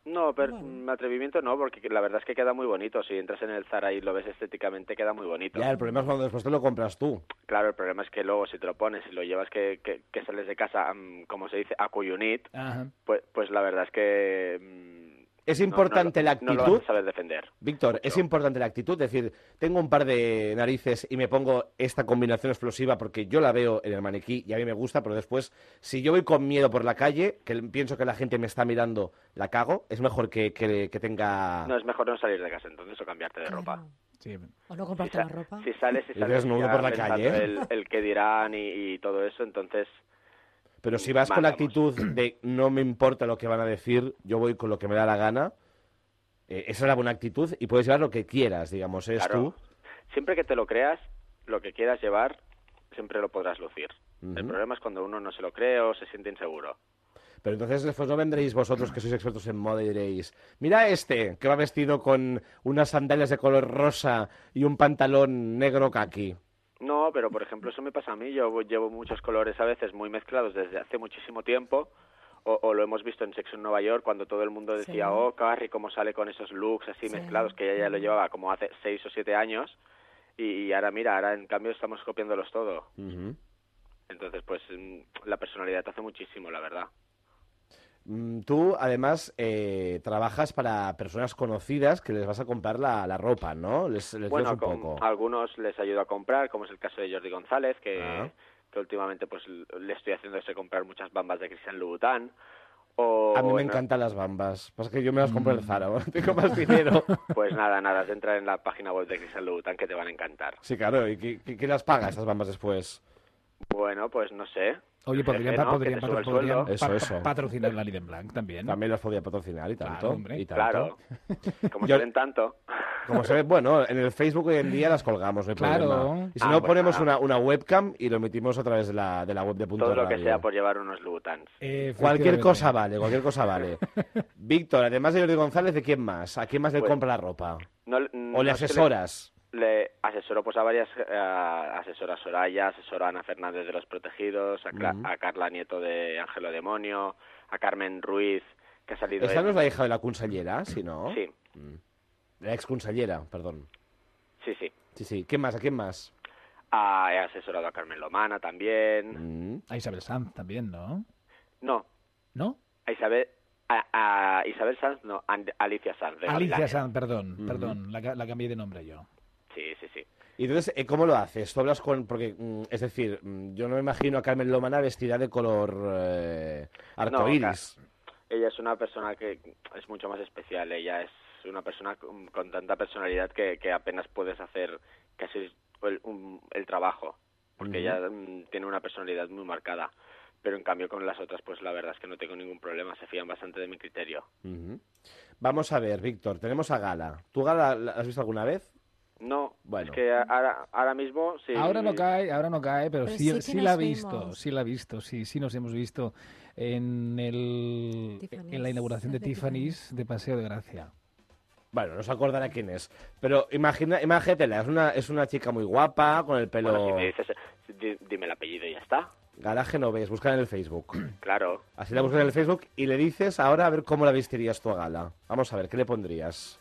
[SPEAKER 6] No, pero
[SPEAKER 3] Bueno.
[SPEAKER 6] mm, atrevimiento no, porque la verdad es que queda muy bonito. Si entras en el Zara y lo ves estéticamente, queda muy bonito.
[SPEAKER 2] Ya, el problema es cuando después te lo compras tú.
[SPEAKER 6] Claro, el problema es que luego si te lo pones y lo llevas que, que, que sales de casa, mm, como se dice, a cuyunit,
[SPEAKER 4] Ajá.
[SPEAKER 6] pues, pues la verdad es que... mm,
[SPEAKER 2] Es
[SPEAKER 6] no-
[SPEAKER 2] importante
[SPEAKER 6] no,
[SPEAKER 2] la
[SPEAKER 6] lo- No lo
[SPEAKER 2] actitud.
[SPEAKER 6] vas a saber defender.
[SPEAKER 2] Víctor, es importante la actitud, es decir, tengo un par de narices y me pongo esta combinación explosiva porque yo la veo en el maniquí y a mí me gusta, pero después, si yo voy con miedo por la calle, que pienso que la gente me está mirando, la cago, es mejor que, que- que tenga...
[SPEAKER 6] No, es mejor no salir de casa entonces o cambiarte de
[SPEAKER 3] Claro.
[SPEAKER 6] ropa.
[SPEAKER 4] Sí.
[SPEAKER 3] O no
[SPEAKER 6] si,
[SPEAKER 3] comprarte
[SPEAKER 6] sa-
[SPEAKER 3] la ropa.
[SPEAKER 6] si sales y
[SPEAKER 2] Y
[SPEAKER 6] sales
[SPEAKER 2] desnudo
[SPEAKER 6] ya
[SPEAKER 2] por la
[SPEAKER 6] pensando
[SPEAKER 2] calle, ¿eh?
[SPEAKER 6] el, el que dirán y, y todo eso entonces
[SPEAKER 2] Pero si vas con la
[SPEAKER 6] Mandamos.
[SPEAKER 2] actitud de no me importa lo que van a decir, yo voy con lo que me da la gana, eh, esa es la buena actitud y puedes llevar lo que quieras, digamos, eres
[SPEAKER 6] claro,
[SPEAKER 2] tú.
[SPEAKER 6] siempre que te lo creas lo que quieras llevar siempre lo podrás lucir el
[SPEAKER 2] Ujú.
[SPEAKER 6] problema es cuando uno no se lo cree o se siente inseguro
[SPEAKER 2] Pero entonces después no vendréis vosotros que sois expertos en moda y diréis, mira este, que va vestido con unas sandalias de color rosa y un pantalón negro caqui.
[SPEAKER 6] no pero por ejemplo eso me pasa a mí yo llevo muchos colores a veces muy mezclados desde hace muchísimo tiempo o, o lo hemos visto en Sexo en Nueva York cuando todo el mundo decía
[SPEAKER 3] Sí.
[SPEAKER 6] oh Carrie cómo sale con esos looks así
[SPEAKER 3] Sí.
[SPEAKER 6] mezclados que ella ya lo llevaba como hace seis o siete años y, y ahora mira ahora en cambio estamos copiándolos todo Entonces, pues mm, la personalidad te hace muchísimo, la verdad.
[SPEAKER 2] Mm, Tú, además, eh, trabajas para personas conocidas que les vas a comprar la, la ropa, ¿no? Les, les
[SPEAKER 6] bueno,
[SPEAKER 2] ves un
[SPEAKER 6] con-
[SPEAKER 2] poco.
[SPEAKER 6] a algunos les ayudo a comprar, como es el caso de Jordi González, que,
[SPEAKER 2] Ah.
[SPEAKER 6] que últimamente pues l- le estoy haciendo ese comprar muchas bambas de Cristian Louboutin. O,
[SPEAKER 2] A mí me
[SPEAKER 6] no-
[SPEAKER 2] encantan las bambas. Pasa que yo me las compro
[SPEAKER 6] Mm.
[SPEAKER 2] en el Zara. <laughs> Tengo más <laughs> dinero.
[SPEAKER 6] Pues nada, nada, de entrar en la página web de Cristian Louboutin que te van a encantar.
[SPEAKER 2] Sí, claro. ¿Y qué, qué- qué las paga estas bambas después?
[SPEAKER 6] Bueno, pues no sé.
[SPEAKER 4] Oye,
[SPEAKER 6] El
[SPEAKER 4] podrían,
[SPEAKER 6] jefe, ¿no?
[SPEAKER 4] podrían,
[SPEAKER 6] Que te sube el
[SPEAKER 4] podrían
[SPEAKER 6] sueldo.
[SPEAKER 4] pa-
[SPEAKER 2] Eso,
[SPEAKER 4] pa-
[SPEAKER 2] eso.
[SPEAKER 4] patrocinar la Liden Blanc también.
[SPEAKER 2] También las podía patrocinar y
[SPEAKER 4] Claro,
[SPEAKER 2] tanto.
[SPEAKER 4] hombre.
[SPEAKER 2] y tanto.
[SPEAKER 6] Claro. Como
[SPEAKER 2] Yo-
[SPEAKER 6] salen tanto.
[SPEAKER 2] Como se ve, bueno, en el Facebook hoy en día las colgamos, no hay
[SPEAKER 4] Claro.
[SPEAKER 2] problema. Y si
[SPEAKER 6] Ah,
[SPEAKER 2] no,
[SPEAKER 6] pues
[SPEAKER 2] ponemos una,
[SPEAKER 6] nada.
[SPEAKER 2] una webcam y lo metimos a través de la, de la web de Punto
[SPEAKER 6] Todo lo que
[SPEAKER 2] Radio.
[SPEAKER 6] sea por llevar unos Louboutins.
[SPEAKER 4] Eh,
[SPEAKER 2] Cualquier
[SPEAKER 4] efectivamente.
[SPEAKER 2] cosa vale, cualquier cosa vale.
[SPEAKER 4] <laughs>
[SPEAKER 2] Víctor, además de Jordi González, ¿de quién más? ¿A quién más le
[SPEAKER 6] Pues-
[SPEAKER 2] compra la ropa?
[SPEAKER 6] No-
[SPEAKER 2] ¿O
[SPEAKER 6] no
[SPEAKER 2] le
[SPEAKER 6] sé,
[SPEAKER 2] asesoras?
[SPEAKER 6] le asesoro pues a varias eh, asesora Soraya, asesora Ana Fernández de los Protegidos, a, Cla-
[SPEAKER 2] Ujú.
[SPEAKER 6] a Carla Nieto de Ángelo Demonio, a Carmen Ruiz que ha salido
[SPEAKER 2] Esta
[SPEAKER 6] en-
[SPEAKER 2] no es la hija de la consellera, si no.
[SPEAKER 6] sí,
[SPEAKER 2] La exconsellera, perdón.
[SPEAKER 6] sí, sí.
[SPEAKER 2] Sí, sí. ¿Quién más? ¿A quién más?
[SPEAKER 6] Ah, he asesorado a Carmen Lomana también.
[SPEAKER 2] Mm.
[SPEAKER 4] A Isabel Sanz también, ¿no?
[SPEAKER 6] No,
[SPEAKER 4] ¿No?
[SPEAKER 6] a Isabel a, a Isabel Sanz, no, a Alicia Sanz de
[SPEAKER 4] Alicia
[SPEAKER 6] Gavilanes.
[SPEAKER 4] Sanz, perdón,
[SPEAKER 2] Ujú.
[SPEAKER 4] perdón, la, ca- la cambié de nombre yo.
[SPEAKER 6] Sí, sí, sí.
[SPEAKER 2] Y entonces, eh, ¿cómo lo haces? Tú hablas con... Porque, mm, es decir, mm, yo no me imagino a Carmen Lomana vestida de color eh, arcoíris.
[SPEAKER 6] Ella es una persona que es mucho más especial. Ella es una persona con, con tanta personalidad que, que apenas puedes hacer casi el, un- el trabajo, porque
[SPEAKER 2] Ujú.
[SPEAKER 6] ella mm, tiene una personalidad muy marcada. Pero en cambio con las otras, pues la verdad es que no tengo ningún problema. Se fían bastante de mi criterio.
[SPEAKER 2] Ujú. Vamos a ver, Víctor, tenemos a Gala. ¿Tú Gala la has visto alguna vez?
[SPEAKER 6] No,
[SPEAKER 2] Bueno.
[SPEAKER 6] es que a- ahora, ahora mismo sí.
[SPEAKER 4] Ahora no cae, ahora no cae, pero,
[SPEAKER 3] Pero
[SPEAKER 4] sí,
[SPEAKER 3] sí que
[SPEAKER 4] sí
[SPEAKER 3] nos
[SPEAKER 4] la ha visto,
[SPEAKER 3] vimos.
[SPEAKER 4] sí la ha visto, sí, sí nos hemos visto en, el,
[SPEAKER 5] Tiffany's,
[SPEAKER 4] en la inauguración de,
[SPEAKER 3] de
[SPEAKER 4] Tiffany's de Paseo de Gracia.
[SPEAKER 2] Bueno, no se acordará quién es. Pero imagina, imagínatela, es una, es una chica muy guapa, con el
[SPEAKER 6] Bueno,
[SPEAKER 2] pelo...
[SPEAKER 6] si me dices, di- dime el apellido y ya está.
[SPEAKER 2] Gala Genovés, busca en el Facebook.
[SPEAKER 4] <laughs>
[SPEAKER 6] Claro.
[SPEAKER 2] Así la buscas en el Facebook y le dices ahora a ver cómo la vestirías tú a Gala. Vamos a ver, ¿qué le pondrías?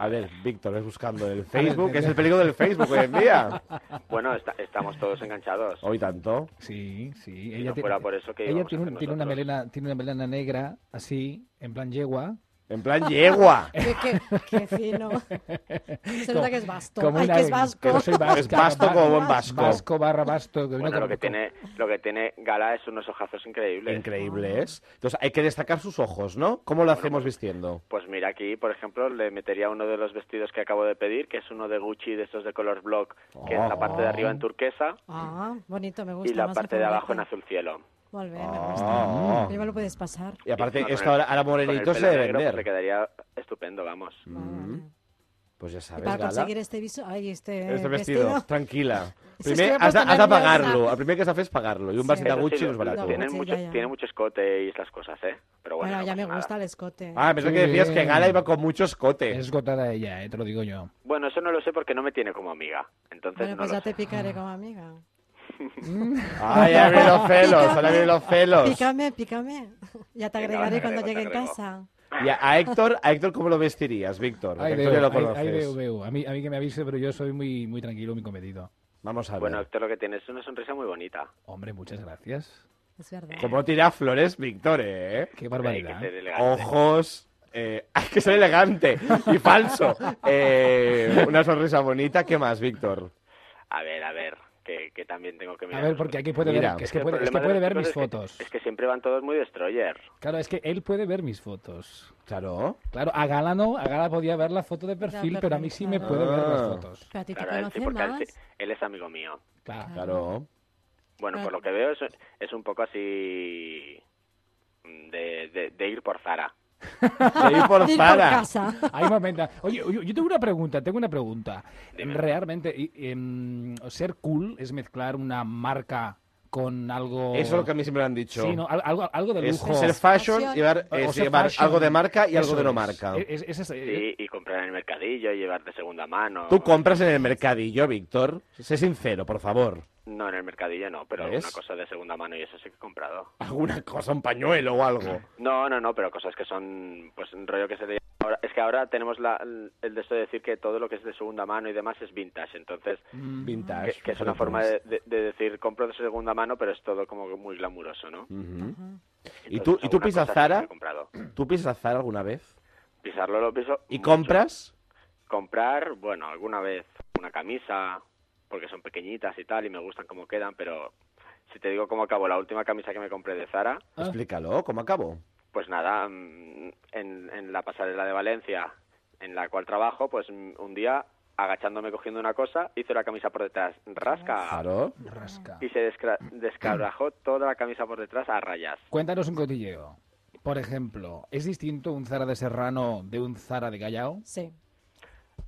[SPEAKER 2] A ver, Víctor, ves buscando en el Facebook, que es el peligro del Facebook hoy en día.
[SPEAKER 6] Bueno, esta- estamos todos enganchados.
[SPEAKER 2] Hoy tanto.
[SPEAKER 4] Sí, sí.
[SPEAKER 6] no
[SPEAKER 4] ti-
[SPEAKER 6] fuera por eso, ¿qué
[SPEAKER 4] ella
[SPEAKER 6] íbamos a
[SPEAKER 4] tiene, un-
[SPEAKER 6] hacer
[SPEAKER 4] tiene una
[SPEAKER 6] nosotros?
[SPEAKER 4] melena, tiene una melena negra, así, en plan yegua,
[SPEAKER 2] En plan yegua.
[SPEAKER 3] Qué, qué- qué fino.
[SPEAKER 2] <laughs>
[SPEAKER 3] Se nota que es vasto.
[SPEAKER 4] como
[SPEAKER 3] Ay,
[SPEAKER 4] una-
[SPEAKER 3] que es vasco.
[SPEAKER 4] que soy vasca,
[SPEAKER 2] Es vasto como buen
[SPEAKER 4] vas-
[SPEAKER 2] vasco.
[SPEAKER 4] Vasco barra vasto. que vino con-
[SPEAKER 6] Bueno, lo que
[SPEAKER 4] con-
[SPEAKER 6] tiene, lo que tiene Gala es unos ojazos increíbles.
[SPEAKER 2] Increíbles. Entonces hay que destacar sus ojos, ¿no? ¿Cómo lo hacemos vistiendo?
[SPEAKER 6] Pues mira, aquí, por ejemplo, le metería uno de los vestidos que acabo de pedir, que es uno de Gucci de estos de color block, que es
[SPEAKER 2] Oh.
[SPEAKER 6] la parte de arriba en turquesa
[SPEAKER 3] Ah, bonito, me gusta.
[SPEAKER 6] y la
[SPEAKER 3] más
[SPEAKER 6] parte de abajo en
[SPEAKER 2] este.
[SPEAKER 3] alfabeta.
[SPEAKER 6] azul cielo.
[SPEAKER 3] Molt bé, me gusta.
[SPEAKER 2] Oh.
[SPEAKER 3] Prima lo puedes pasar.
[SPEAKER 2] Y
[SPEAKER 6] Y
[SPEAKER 2] aparte,
[SPEAKER 6] con
[SPEAKER 2] esto
[SPEAKER 6] el-
[SPEAKER 2] ahora, ahora
[SPEAKER 6] con el
[SPEAKER 2] morenito se
[SPEAKER 6] pelo
[SPEAKER 2] debe
[SPEAKER 6] negro, pues, le
[SPEAKER 2] vender. Mm.
[SPEAKER 6] quedaría estupendo, vamos.
[SPEAKER 3] Va, vale.
[SPEAKER 2] Pues ya
[SPEAKER 3] I
[SPEAKER 2] sabes,
[SPEAKER 3] per
[SPEAKER 2] Gala.
[SPEAKER 3] aconseguir este, viso... Ai, este,
[SPEAKER 2] Este vestido, tranquila.
[SPEAKER 3] Es que
[SPEAKER 2] Primer,
[SPEAKER 3] me he
[SPEAKER 2] has de,
[SPEAKER 3] puesto
[SPEAKER 2] has de
[SPEAKER 3] nerviosa.
[SPEAKER 2] pagarlo. El primer que se hace es pagarlo. Y un
[SPEAKER 3] Sí.
[SPEAKER 2] vasito
[SPEAKER 3] Eso
[SPEAKER 6] Eso
[SPEAKER 2] Gucci
[SPEAKER 6] sí,
[SPEAKER 2] no es barato.
[SPEAKER 6] Tiene
[SPEAKER 3] Sí,
[SPEAKER 6] mucho,
[SPEAKER 3] ya, ya.
[SPEAKER 6] tiene mucho escote y estas cosas, ¿eh? Pero bueno,
[SPEAKER 3] Bueno,
[SPEAKER 6] no
[SPEAKER 3] ya me
[SPEAKER 6] pasa nada.
[SPEAKER 3] gusta el escote.
[SPEAKER 2] Ah, pensé que
[SPEAKER 4] Sí.
[SPEAKER 2] decías que Gala iba con mucho escote.
[SPEAKER 4] Es esgotada ella, eh, te lo digo yo.
[SPEAKER 6] Bueno, eso no lo sé porque no me tiene como amiga. Entonces
[SPEAKER 3] bueno,
[SPEAKER 6] no
[SPEAKER 3] pues
[SPEAKER 6] lo
[SPEAKER 3] ya te
[SPEAKER 6] sé.
[SPEAKER 3] picaré como amiga.
[SPEAKER 2] Ay, ahora vienen los celos, ahora vienen los celos.
[SPEAKER 3] Pícame, pícame. Ya te
[SPEAKER 6] Venga,
[SPEAKER 3] agregaré
[SPEAKER 6] vale,
[SPEAKER 3] cuando
[SPEAKER 6] agrego,
[SPEAKER 3] llegue en
[SPEAKER 6] te agrego.
[SPEAKER 3] casa.
[SPEAKER 2] Y a, a Héctor, ¿a Héctor cómo lo vestirías, Víctor? Porque
[SPEAKER 4] Ahí
[SPEAKER 2] Héctor ya lo
[SPEAKER 4] veo, ahí-
[SPEAKER 2] conoces.
[SPEAKER 4] ahí veo, veo. A mí, a mí que me avise, pero yo soy muy, muy tranquilo, muy comedido.
[SPEAKER 2] Vamos a ver.
[SPEAKER 6] Bueno, Héctor, lo que tiene es una sonrisa muy bonita.
[SPEAKER 4] Hombre, muchas gracias.
[SPEAKER 3] Es verdad.
[SPEAKER 2] ¿Cómo tira flores, Víctor, eh?
[SPEAKER 4] Qué
[SPEAKER 6] Hay que
[SPEAKER 4] barbaridad.
[SPEAKER 6] ser elegante.
[SPEAKER 2] Ojos. Eh, <laughs> hay que ser elegante y falso. Eh, una sonrisa bonita. ¿Qué más, Víctor?
[SPEAKER 6] A ver, a ver, que, que también tengo que mirar.
[SPEAKER 4] A ver, porque aquí puede
[SPEAKER 2] Mira,
[SPEAKER 4] ver, que es
[SPEAKER 6] que
[SPEAKER 4] que
[SPEAKER 6] el
[SPEAKER 4] puede, es que
[SPEAKER 6] problema de
[SPEAKER 4] puede
[SPEAKER 6] los
[SPEAKER 4] ver mis
[SPEAKER 6] chicos es que-
[SPEAKER 4] fotos.
[SPEAKER 6] Es que siempre van todos muy destroyer.
[SPEAKER 4] Claro, es que él puede ver mis fotos.
[SPEAKER 2] Claro.
[SPEAKER 4] Claro, a Gala no, a Gala podía ver la foto de perfil,
[SPEAKER 3] perfil,
[SPEAKER 4] pero a mí sí me
[SPEAKER 3] claro.
[SPEAKER 4] puede ver
[SPEAKER 2] Ah.
[SPEAKER 4] las fotos.
[SPEAKER 3] Pero a ti te
[SPEAKER 6] Claro, él sí,
[SPEAKER 3] conoce
[SPEAKER 6] porque él,
[SPEAKER 3] más.
[SPEAKER 6] sí- él es amigo mío.
[SPEAKER 4] Claro.
[SPEAKER 2] Claro.
[SPEAKER 6] Bueno,
[SPEAKER 3] Ah.
[SPEAKER 6] por lo que veo es, es un poco así mm, de, de- de ir por Zara.
[SPEAKER 2] De ir por
[SPEAKER 3] Ir
[SPEAKER 2] Zara.
[SPEAKER 3] casa.
[SPEAKER 4] Hay momentos. Oye, yo, yo tengo una pregunta, tengo una pregunta.
[SPEAKER 6] Dime.
[SPEAKER 4] Realmente, y- em, ser cool es mezclar una marca con algo.
[SPEAKER 2] Eso es lo que a mí siempre me han dicho.
[SPEAKER 4] Sí, ¿no? Al- algo, algo de
[SPEAKER 2] Es
[SPEAKER 4] lujo.
[SPEAKER 2] ser fashion,
[SPEAKER 3] Fashion.
[SPEAKER 2] llevar,
[SPEAKER 4] O-
[SPEAKER 2] eh,
[SPEAKER 4] o ser
[SPEAKER 2] llevar
[SPEAKER 4] fashion.
[SPEAKER 2] algo de marca y algo
[SPEAKER 4] Eso
[SPEAKER 2] de no
[SPEAKER 4] es. E, Eh,
[SPEAKER 2] marca.
[SPEAKER 4] Es- es- es-
[SPEAKER 6] Sí, y comprar en el mercadillo, llevar de segunda mano.
[SPEAKER 2] Tú compras en el mercadillo, Víctor. Sé sincero, por favor.
[SPEAKER 6] No, en el mercadillo no, pero
[SPEAKER 2] ¿Ves?
[SPEAKER 6] una cosa de segunda mano y eso sí que he comprado.
[SPEAKER 2] Alguna cosa, un pañuelo o algo.
[SPEAKER 6] No, no, no, pero cosas que son, pues, un rollo que se le llama ahora- es que ahora tenemos la- el de esto de decir que todo lo que es de segunda mano y demás es vintage, entonces
[SPEAKER 2] Vintage.
[SPEAKER 6] que, que es una
[SPEAKER 2] fíjate
[SPEAKER 6] forma
[SPEAKER 2] tú.
[SPEAKER 6] de, de- de decir compro de segunda mano, pero es todo como que muy glamuroso, ¿no?
[SPEAKER 2] Ujú. ¿Y
[SPEAKER 6] Entonces,
[SPEAKER 2] tú, ¿y tú
[SPEAKER 6] alguna cosa
[SPEAKER 2] pisas
[SPEAKER 6] sí que
[SPEAKER 2] Zara?
[SPEAKER 6] he comprado.
[SPEAKER 2] ¿Tú pisas Zara alguna vez?
[SPEAKER 6] Pisarlo lo piso.
[SPEAKER 2] ¿Y
[SPEAKER 6] mucho.
[SPEAKER 2] compras?
[SPEAKER 6] Comprar, bueno, alguna vez una camisa, porque son pequeñitas y tal, y me gustan como quedan, pero si te digo cómo acabó la última camisa que me compré de Zara,
[SPEAKER 4] Ah.
[SPEAKER 2] Explícalo, ¿cómo acabo?
[SPEAKER 6] pues nada, mm, en, en la pasarela de Valencia, en la cual trabajo, pues mm, un día, agachándome cogiendo una cosa, hice la camisa por detrás, rasca,
[SPEAKER 2] Claro.
[SPEAKER 4] Rasca.
[SPEAKER 6] y se descra- descabrajó toda la camisa por detrás a rayas.
[SPEAKER 4] Cuéntanos un cotilleo. Por ejemplo, ¿es distinto un Zara de Serrano de un Zara de Callao?
[SPEAKER 3] Sí.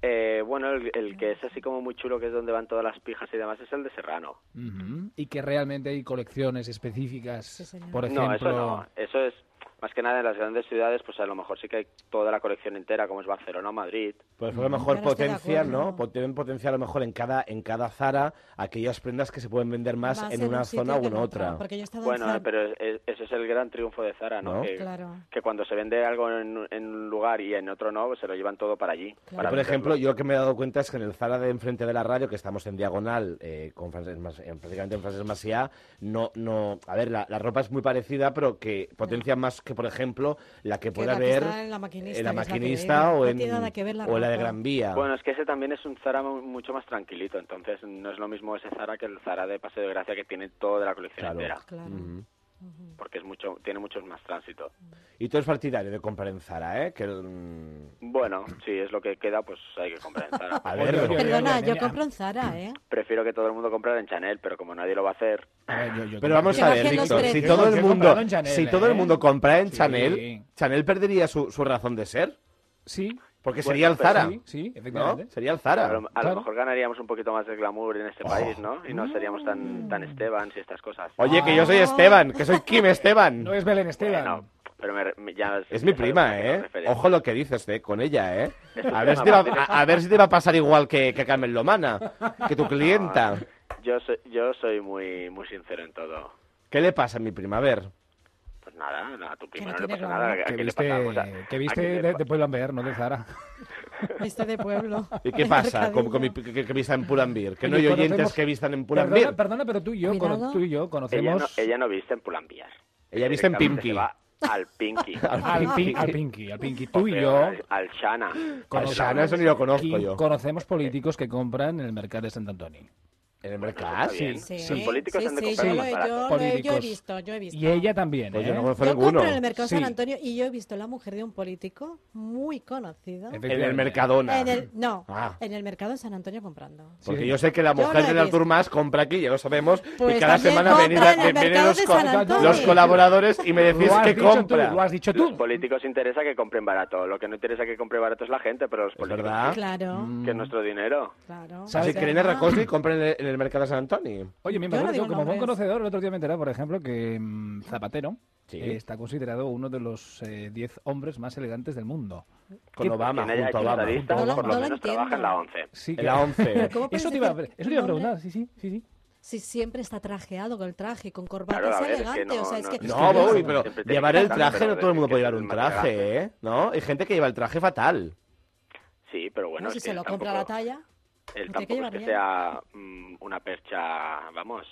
[SPEAKER 6] Eh, bueno, el, el que es así como muy chulo, que es donde van todas las pijas y demás, es el de Serrano.
[SPEAKER 4] Ujú. Y que realmente hay colecciones específicas,
[SPEAKER 3] Sí, señor.
[SPEAKER 4] por ejemplo...
[SPEAKER 6] No, eso no. Eso es, más que nada en las grandes ciudades, pues a lo mejor sí que hay toda la colección entera, como es Barcelona o Madrid.
[SPEAKER 2] Pues a lo mejor
[SPEAKER 3] Ahora estoy de
[SPEAKER 2] potencia,
[SPEAKER 3] acuerdo.
[SPEAKER 2] ¿no? Pot- Deben potenciar a lo mejor en cada, en cada Zara aquellas prendas que se pueden vender más
[SPEAKER 3] Va a
[SPEAKER 2] en
[SPEAKER 3] ser
[SPEAKER 2] una
[SPEAKER 3] un sitio
[SPEAKER 2] zona o
[SPEAKER 3] que
[SPEAKER 2] en
[SPEAKER 3] no,
[SPEAKER 2] otra.
[SPEAKER 3] Porque yo he estado
[SPEAKER 6] Bueno,
[SPEAKER 3] en Zara-
[SPEAKER 6] pero eh, es- ese es el gran triunfo de Zara, ¿no?
[SPEAKER 2] ¿No?
[SPEAKER 6] Que,
[SPEAKER 3] Claro.
[SPEAKER 6] que cuando se vende algo en, en un lugar y en otro no, pues se lo llevan todo para allí.
[SPEAKER 2] Yo,
[SPEAKER 6] para
[SPEAKER 2] por ejemplo,
[SPEAKER 6] venderlo.
[SPEAKER 2] yo lo que me he dado cuenta es que en el Zara de enfrente de la radio, que estamos en diagonal, eh, con Francesc Mas- en- prácticamente en Francesc Maciá, no, no, a ver, la, la ropa es muy parecida, pero que potencia más que, por ejemplo, la que pueda
[SPEAKER 3] la que
[SPEAKER 2] haber
[SPEAKER 3] está en La
[SPEAKER 2] en la
[SPEAKER 3] Maquinista, que es la que
[SPEAKER 2] maquinista
[SPEAKER 3] veo.
[SPEAKER 2] o,
[SPEAKER 3] No
[SPEAKER 2] en,
[SPEAKER 3] tiene nada que ver la
[SPEAKER 2] o en la de
[SPEAKER 3] ropa.
[SPEAKER 2] Gran Vía.
[SPEAKER 6] Bueno, es que ese también es un Zara mu- mucho más tranquilito, entonces no es lo mismo ese Zara que el Zara de Paseo de Gracia que tiene toda la colección
[SPEAKER 2] Claro.
[SPEAKER 6] entera,
[SPEAKER 3] Claro.
[SPEAKER 2] Ujú.
[SPEAKER 6] porque es mucho, tiene muchos más tránsito.
[SPEAKER 2] Y tú eres partidario de comprar en Zara, ¿eh? Que, mm,
[SPEAKER 6] Bueno, si es lo que queda, pues hay que comprar en Zara.
[SPEAKER 2] <laughs> a
[SPEAKER 4] Oye,
[SPEAKER 2] ver,
[SPEAKER 4] oye,
[SPEAKER 3] Perdona,
[SPEAKER 4] oye,
[SPEAKER 3] yo
[SPEAKER 4] oye,
[SPEAKER 3] compro en Zara, ¿eh?
[SPEAKER 6] Prefiero que todo el mundo comprara en Chanel, pero como nadie lo va a hacer,
[SPEAKER 4] A ver, yo- yo
[SPEAKER 2] Pero
[SPEAKER 4] compro-
[SPEAKER 2] vamos
[SPEAKER 3] Que
[SPEAKER 2] a
[SPEAKER 3] bajen
[SPEAKER 2] ver,
[SPEAKER 3] los
[SPEAKER 2] Víctor, si
[SPEAKER 3] precios.
[SPEAKER 2] todo el
[SPEAKER 4] Yo
[SPEAKER 2] mundo,
[SPEAKER 4] compraba en Chanel,
[SPEAKER 2] si todo el
[SPEAKER 4] ¿eh?
[SPEAKER 2] mundo compra en
[SPEAKER 4] Sí.
[SPEAKER 2] Chanel, Chanel perdería su, su razón de ser,
[SPEAKER 4] Sí,
[SPEAKER 2] porque
[SPEAKER 6] Bueno,
[SPEAKER 2] sería el
[SPEAKER 6] pero
[SPEAKER 2] Zara,
[SPEAKER 4] sí, sí,
[SPEAKER 2] ¿no?
[SPEAKER 4] efectivamente.
[SPEAKER 2] Sería el
[SPEAKER 6] A
[SPEAKER 2] Zara.
[SPEAKER 6] lo, a lo
[SPEAKER 4] Claro.
[SPEAKER 6] mejor ganaríamos un poquito más de glamour en
[SPEAKER 2] Oh.
[SPEAKER 6] este país, ¿no? Y no seríamos
[SPEAKER 3] Mm.
[SPEAKER 6] tan, tan Esteban y estas cosas. Eh,
[SPEAKER 2] Oye, que yo soy Esteban, que soy Kim Esteban.
[SPEAKER 4] No es Belén Esteban.
[SPEAKER 6] Bueno, pero me- me- ya
[SPEAKER 2] Es
[SPEAKER 6] ya
[SPEAKER 2] mi
[SPEAKER 6] sabemos
[SPEAKER 2] prima,
[SPEAKER 6] a qué nos
[SPEAKER 2] ¿eh?
[SPEAKER 6] referimos.
[SPEAKER 2] Ojo lo que dices, ¿eh? Con ella, ¿eh?
[SPEAKER 6] Es tu
[SPEAKER 2] A ver, si te
[SPEAKER 6] prima,
[SPEAKER 2] va,
[SPEAKER 6] Martín.
[SPEAKER 2] a, a ver si te va a pasar igual que, que Carmen Lomana, que tu clienta.
[SPEAKER 6] Ah, Yo soy, yo soy muy, muy sincero en todo.
[SPEAKER 2] ¿Qué le pasa a mi prima? A ver.
[SPEAKER 6] Pues nada, no, a tu prima
[SPEAKER 3] no
[SPEAKER 6] no, le
[SPEAKER 3] tiene
[SPEAKER 6] pasa
[SPEAKER 3] glamour.
[SPEAKER 6] nada.
[SPEAKER 4] Que
[SPEAKER 6] ¿A qué le
[SPEAKER 4] viste,
[SPEAKER 6] pasa algo? O sea,
[SPEAKER 4] que
[SPEAKER 6] ¿a
[SPEAKER 4] viste
[SPEAKER 6] qué le
[SPEAKER 4] de,
[SPEAKER 6] pa-
[SPEAKER 4] de Pueblo Amber, no de Zara.
[SPEAKER 3] Viste Este de pueblo.
[SPEAKER 2] ¿Y qué
[SPEAKER 3] de
[SPEAKER 2] pasa con,
[SPEAKER 3] <laughs> mercadillo.
[SPEAKER 2] con mi- que, que vistan en Pulambir? Que no
[SPEAKER 4] Oye,
[SPEAKER 2] hay oyentes
[SPEAKER 4] conocemos-
[SPEAKER 2] que vistan en
[SPEAKER 4] Perdona,
[SPEAKER 2] Pulambir.
[SPEAKER 4] perdona, pero tú y yo,
[SPEAKER 3] Cuidado.
[SPEAKER 4] cono- tú y yo
[SPEAKER 6] ella, no,
[SPEAKER 4] conocemos
[SPEAKER 6] ella no viste en Pulambiar.
[SPEAKER 2] Ella viste en
[SPEAKER 6] Directamente
[SPEAKER 2] Pinky. Ah,
[SPEAKER 6] se va al
[SPEAKER 2] <laughs>
[SPEAKER 6] Pinky.
[SPEAKER 4] al, Pin-
[SPEAKER 2] Pinky.
[SPEAKER 4] al Pinky, al Pinky.
[SPEAKER 6] Pues
[SPEAKER 4] Tú y yo
[SPEAKER 6] Al, al Shana.
[SPEAKER 2] Al
[SPEAKER 4] conocemos-
[SPEAKER 2] Shana, eso ni lo conozco
[SPEAKER 4] Kim,
[SPEAKER 2] yo.
[SPEAKER 4] conocemos políticos que compran en el mercado de Sant Antoni.
[SPEAKER 2] ¿En el mercado?
[SPEAKER 6] Está bien.
[SPEAKER 3] Sí,
[SPEAKER 6] Los políticos
[SPEAKER 3] sí,
[SPEAKER 6] han de
[SPEAKER 3] sí,
[SPEAKER 6] comprar
[SPEAKER 3] yo,
[SPEAKER 6] lo
[SPEAKER 3] lo
[SPEAKER 6] más
[SPEAKER 3] he,
[SPEAKER 6] barato.
[SPEAKER 3] yo, lo he, yo he
[SPEAKER 4] Políticos.
[SPEAKER 3] visto, yo he visto.
[SPEAKER 4] Y ella también,
[SPEAKER 2] Pues
[SPEAKER 4] ¿eh?
[SPEAKER 2] yo no conozco
[SPEAKER 3] Yo
[SPEAKER 2] ninguno.
[SPEAKER 3] compro en el Mercado
[SPEAKER 4] Sí.
[SPEAKER 3] San Antonio y yo he visto la mujer de un político muy conocido.
[SPEAKER 4] Efectivamente.
[SPEAKER 2] En el Mercadona.
[SPEAKER 3] En el, no,
[SPEAKER 2] Ah.
[SPEAKER 3] en el Mercado de San Antonio comprando.
[SPEAKER 2] Porque
[SPEAKER 4] Sí.
[SPEAKER 2] yo sé que la
[SPEAKER 3] Yo
[SPEAKER 2] mujer
[SPEAKER 3] lo he
[SPEAKER 2] de Artur
[SPEAKER 3] visto.
[SPEAKER 2] Mas compra aquí, ya lo sabemos.
[SPEAKER 3] Pues
[SPEAKER 2] y cada
[SPEAKER 3] también
[SPEAKER 2] semana
[SPEAKER 3] compra
[SPEAKER 2] ven- ven-
[SPEAKER 3] en el
[SPEAKER 2] ven-
[SPEAKER 3] mercado
[SPEAKER 2] los,
[SPEAKER 3] de
[SPEAKER 2] co-
[SPEAKER 3] San Antonio.
[SPEAKER 2] los colaboradores y me decís
[SPEAKER 4] Lo has
[SPEAKER 2] que
[SPEAKER 4] dicho
[SPEAKER 2] compra.
[SPEAKER 4] Tú, lo has dicho
[SPEAKER 6] Los
[SPEAKER 4] tú.
[SPEAKER 6] políticos interesa que compren barato. Lo que no interesa que compre barato es la gente, pero los
[SPEAKER 2] Es
[SPEAKER 6] políticos
[SPEAKER 2] verdad.
[SPEAKER 3] Claro,
[SPEAKER 6] que es nuestro dinero.
[SPEAKER 3] claro.
[SPEAKER 2] Si
[SPEAKER 4] Ah. Mm. ¿Sabes?
[SPEAKER 2] creen a Racosta y compren en el- en el mercado de San Antonio.
[SPEAKER 4] Oye, me
[SPEAKER 3] Yo no
[SPEAKER 4] acuerdo,
[SPEAKER 3] digo
[SPEAKER 4] como buen
[SPEAKER 3] nombres.
[SPEAKER 4] conocedor, el otro día me enteré, por ejemplo, que mm, Zapatero
[SPEAKER 2] Sí.
[SPEAKER 4] eh, está considerado uno de los eh, 10 hombres más elegantes del mundo.
[SPEAKER 2] Con Obama,
[SPEAKER 6] Quien haya
[SPEAKER 2] junto a
[SPEAKER 6] hecho
[SPEAKER 2] Obama.
[SPEAKER 6] estadista,
[SPEAKER 3] No lo-
[SPEAKER 6] por
[SPEAKER 3] no
[SPEAKER 6] lo
[SPEAKER 3] lo
[SPEAKER 6] menos trabaja en
[SPEAKER 3] entiendo.
[SPEAKER 6] la 11.
[SPEAKER 4] Sí, eh,
[SPEAKER 2] En la 11.
[SPEAKER 3] ¿Cómo
[SPEAKER 4] <laughs> Eso
[SPEAKER 3] puedes
[SPEAKER 4] te iba a,
[SPEAKER 3] decir
[SPEAKER 4] eso te iba a
[SPEAKER 3] un hombre
[SPEAKER 4] preguntar, sí, sí, sí, sí.
[SPEAKER 3] Si siempre está trajeado con el traje, con corbata,
[SPEAKER 6] Claro,
[SPEAKER 3] es
[SPEAKER 6] a ver, es que
[SPEAKER 3] elegante.
[SPEAKER 6] no,
[SPEAKER 3] o sea, es
[SPEAKER 6] no,
[SPEAKER 3] que,
[SPEAKER 6] es
[SPEAKER 2] No,
[SPEAKER 6] que-
[SPEAKER 2] voy, pero
[SPEAKER 6] Siempre tiene
[SPEAKER 2] llevar
[SPEAKER 6] que
[SPEAKER 2] el
[SPEAKER 6] estar,
[SPEAKER 2] traje
[SPEAKER 6] pero
[SPEAKER 2] no todo el mundo
[SPEAKER 6] decir
[SPEAKER 2] puede
[SPEAKER 6] que
[SPEAKER 2] llevar
[SPEAKER 6] es
[SPEAKER 2] un
[SPEAKER 6] más elegante.
[SPEAKER 2] traje, ¿eh? ¿No? Hay gente que lleva el traje fatal.
[SPEAKER 6] Sí, pero bueno,
[SPEAKER 3] no, si
[SPEAKER 6] es
[SPEAKER 3] se
[SPEAKER 6] que
[SPEAKER 3] lo compra la
[SPEAKER 6] tampoco-
[SPEAKER 3] talla.
[SPEAKER 6] Él
[SPEAKER 3] lo tiene que
[SPEAKER 6] tampoco es
[SPEAKER 3] llevar
[SPEAKER 6] que
[SPEAKER 3] bien.
[SPEAKER 6] sea mm, una percha, vamos,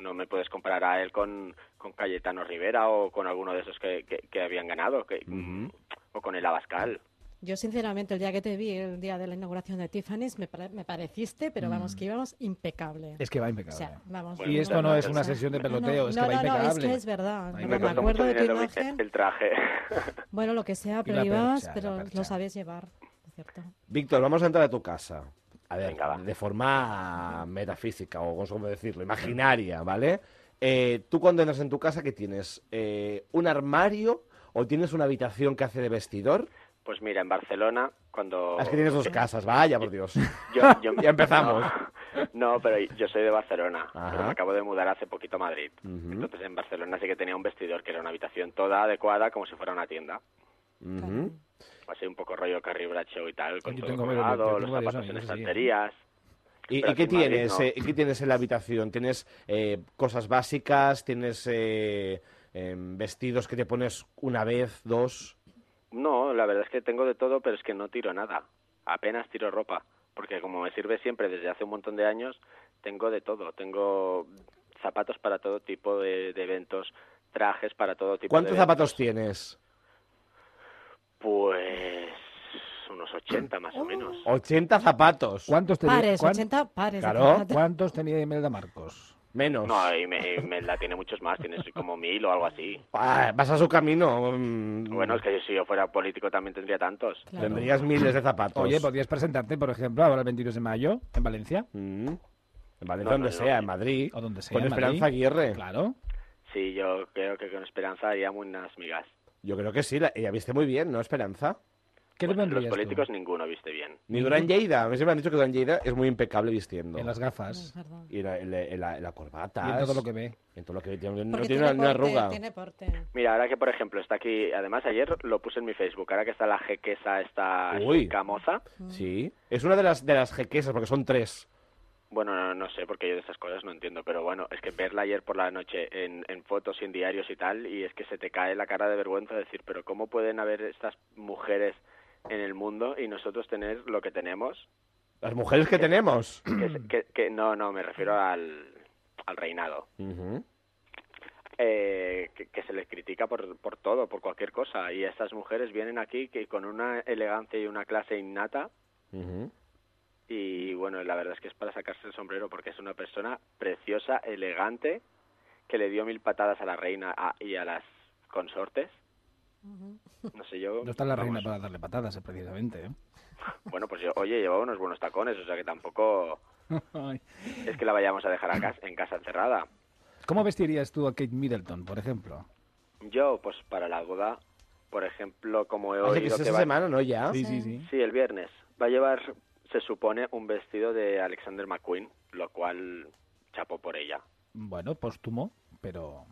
[SPEAKER 6] no me puedes comparar a él con, con Cayetano Rivera o con alguno de esos que, que- que habían ganado, que, mm, o con el Abascal.
[SPEAKER 3] Yo, sinceramente, el día que te vi, el día de la inauguración de Tiffany's, me, pare- me pareciste, pero vamos, que íbamos impecable.
[SPEAKER 4] Es que va
[SPEAKER 3] o
[SPEAKER 4] Mm. impecable.
[SPEAKER 3] sea, vamos,
[SPEAKER 6] Bueno,
[SPEAKER 4] y esto no es una sesión de
[SPEAKER 3] No, no,
[SPEAKER 4] peloteo, es que
[SPEAKER 3] no,
[SPEAKER 4] va
[SPEAKER 3] no, no,
[SPEAKER 4] impecable.
[SPEAKER 3] es que es verdad.
[SPEAKER 4] Va
[SPEAKER 3] no,
[SPEAKER 6] Me
[SPEAKER 3] me
[SPEAKER 4] impecable.
[SPEAKER 6] costó mucho
[SPEAKER 3] acuerdo de tu
[SPEAKER 6] dinero el-
[SPEAKER 3] imagen.
[SPEAKER 6] el traje. <laughs>
[SPEAKER 3] Bueno, lo que sea, pero
[SPEAKER 4] la
[SPEAKER 3] ibas,
[SPEAKER 4] percha, la
[SPEAKER 3] pero
[SPEAKER 4] percha.
[SPEAKER 3] lo sabías llevar, es ¿cierto?
[SPEAKER 2] Víctor, vamos a entrar a tu casa. A ver,
[SPEAKER 6] Venga, va.
[SPEAKER 2] de forma metafísica, o no sé cómo decirlo, imaginaria, ¿vale? Eh, Tú cuando entras en tu casa, ¿qué tienes? Eh, ¿Un armario o tienes una habitación que hace de vestidor?
[SPEAKER 6] Pues mira, en Barcelona, cuando...
[SPEAKER 2] Ah, Es que tienes dos casas, vaya, por Dios.
[SPEAKER 6] Yo- Eh,
[SPEAKER 2] <laughs>
[SPEAKER 6] yo-
[SPEAKER 2] Ya empezamos.
[SPEAKER 6] <laughs> No, pero yo soy de Barcelona,
[SPEAKER 2] Ajá.
[SPEAKER 6] pero me acabo de mudar hace poquito a Madrid.
[SPEAKER 2] Ujú.
[SPEAKER 6] Entonces en Barcelona sí que tenía un vestidor que era una habitación toda adecuada como si fuera una tienda.
[SPEAKER 2] Ujú.
[SPEAKER 6] Así un poco rollo Carrie Bradshaw y tal, con
[SPEAKER 4] Yo
[SPEAKER 6] todo
[SPEAKER 4] tengo varios-
[SPEAKER 6] colgado,
[SPEAKER 4] yo tengo
[SPEAKER 6] los
[SPEAKER 4] varios
[SPEAKER 6] zapatos en
[SPEAKER 4] amigos así, ¿eh?
[SPEAKER 6] estanterías.
[SPEAKER 2] ¿Y,
[SPEAKER 6] Pero
[SPEAKER 2] y qué
[SPEAKER 6] aquí en Madrid
[SPEAKER 2] tienes?
[SPEAKER 6] no.
[SPEAKER 2] eh, ¿Qué tienes en la habitación? ¿Tienes eh, cosas básicas? ¿Tienes eh, em, vestidos que te pones una vez, dos?
[SPEAKER 6] No, la verdad es que tengo de todo, pero es que no tiro nada. Apenas tiro ropa. Porque como me sirve siempre desde hace un montón de años, tengo de todo. Tengo zapatos para todo tipo de, de eventos, trajes para todo tipo
[SPEAKER 2] ¿Cuántos
[SPEAKER 6] de
[SPEAKER 2] zapatos tienes?
[SPEAKER 6] Pues unos 80 más
[SPEAKER 4] Oh.
[SPEAKER 6] o menos.
[SPEAKER 2] 80 zapatos.
[SPEAKER 4] ¿Cuántos, tenía-
[SPEAKER 3] Pares,
[SPEAKER 4] cuán-
[SPEAKER 3] 80 pares. de
[SPEAKER 2] Claro.
[SPEAKER 3] zapatos.
[SPEAKER 4] ¿Cuántos tenía Imelda Marcos?
[SPEAKER 2] Menos.
[SPEAKER 6] No, y me, y me la tiene muchos más, tiene como mil o algo así.
[SPEAKER 2] Ah, vas a su camino. mm,
[SPEAKER 6] Bueno, es que si yo fuera político también tendría tantos.
[SPEAKER 3] Claro.
[SPEAKER 2] Tendrías miles de zapatos.
[SPEAKER 4] Oye, podrías presentarte, por ejemplo, ahora el 22 de mayo, en Valencia,
[SPEAKER 2] Mm. En Valencia,
[SPEAKER 6] No, no,
[SPEAKER 2] donde
[SPEAKER 6] no.
[SPEAKER 2] sea, en Madrid.
[SPEAKER 4] o donde sea.
[SPEAKER 2] Con
[SPEAKER 4] en
[SPEAKER 2] Esperanza
[SPEAKER 4] Madrid.
[SPEAKER 2] Aguirre.
[SPEAKER 4] Claro.
[SPEAKER 6] Sí, yo creo que con Esperanza haría unas migas.
[SPEAKER 2] Yo creo que sí, la, ella viste muy bien, ¿no, Esperanza?
[SPEAKER 4] ¿Qué le
[SPEAKER 6] Bueno,
[SPEAKER 4] pondrías
[SPEAKER 6] los
[SPEAKER 4] tú?
[SPEAKER 6] políticos ninguno viste bien.
[SPEAKER 2] Ni Durán Lleida. A mí siempre me han dicho que Durán Lleida es muy impecable vistiendo.
[SPEAKER 4] Mm. En las
[SPEAKER 3] Es
[SPEAKER 4] gafas.
[SPEAKER 3] verdad.
[SPEAKER 2] Y la, en la- en la- en la corbata.
[SPEAKER 4] Y en todo lo que ve.
[SPEAKER 2] En todo lo que ve. Tiene- No
[SPEAKER 3] Porque
[SPEAKER 2] tiene, una, una
[SPEAKER 3] porte,
[SPEAKER 2] arruga.
[SPEAKER 3] Tiene porte.
[SPEAKER 6] Mira, ahora que por ejemplo está aquí, además ayer lo puse en mi Facebook, ahora que está la jequesa, está
[SPEAKER 2] Uy.
[SPEAKER 6] camoza.
[SPEAKER 2] Sí. Es una de las, de las jequesas, porque son tres.
[SPEAKER 6] Bueno, no, no sé, porque yo de estas cosas no entiendo, pero bueno, es que verla ayer por la noche en, en fotos y en diarios y tal, y es que se te cae la cara de vergüenza decir, pero ¿cómo pueden haber estas mujeres en el mundo y nosotros tener lo que tenemos?
[SPEAKER 2] Las mujeres que tenemos.
[SPEAKER 6] Que, es- que- que- no, no, me refiero al, al reinado.
[SPEAKER 2] Ujú.
[SPEAKER 6] eh, que, que se les critica por, por todo, por cualquier cosa. Y estas mujeres vienen aquí que con una elegancia y una clase innata.
[SPEAKER 2] Ujú.
[SPEAKER 6] Y bueno, la verdad es que es para sacarse el sombrero porque es una persona preciosa, elegante, que le dio mil patadas a la reina a- y a las consortes. No sé yo.
[SPEAKER 4] No está la reina
[SPEAKER 6] vamos,
[SPEAKER 4] para darle patadas, eh, precisamente. ¿eh?
[SPEAKER 3] <laughs>
[SPEAKER 6] Bueno, pues yo, oye, llevaba unos buenos tacones, o sea que tampoco
[SPEAKER 4] Ay.
[SPEAKER 6] es que la vayamos a dejar a cas- en casa encerrada.
[SPEAKER 4] ¿Cómo vestirías tú a Kate Middleton, por ejemplo?
[SPEAKER 6] Yo, pues para la boda, por ejemplo, como he
[SPEAKER 2] Ah, Hace que
[SPEAKER 6] oído
[SPEAKER 2] es
[SPEAKER 6] que
[SPEAKER 2] esta
[SPEAKER 6] va,
[SPEAKER 2] semana, ¿no? Ya.
[SPEAKER 4] Sí, sí, sí.
[SPEAKER 6] Sí, el viernes. Va a llevar, se supone, un vestido de Alexander McQueen, lo cual chapo por ella.
[SPEAKER 4] Bueno, póstumo, pero...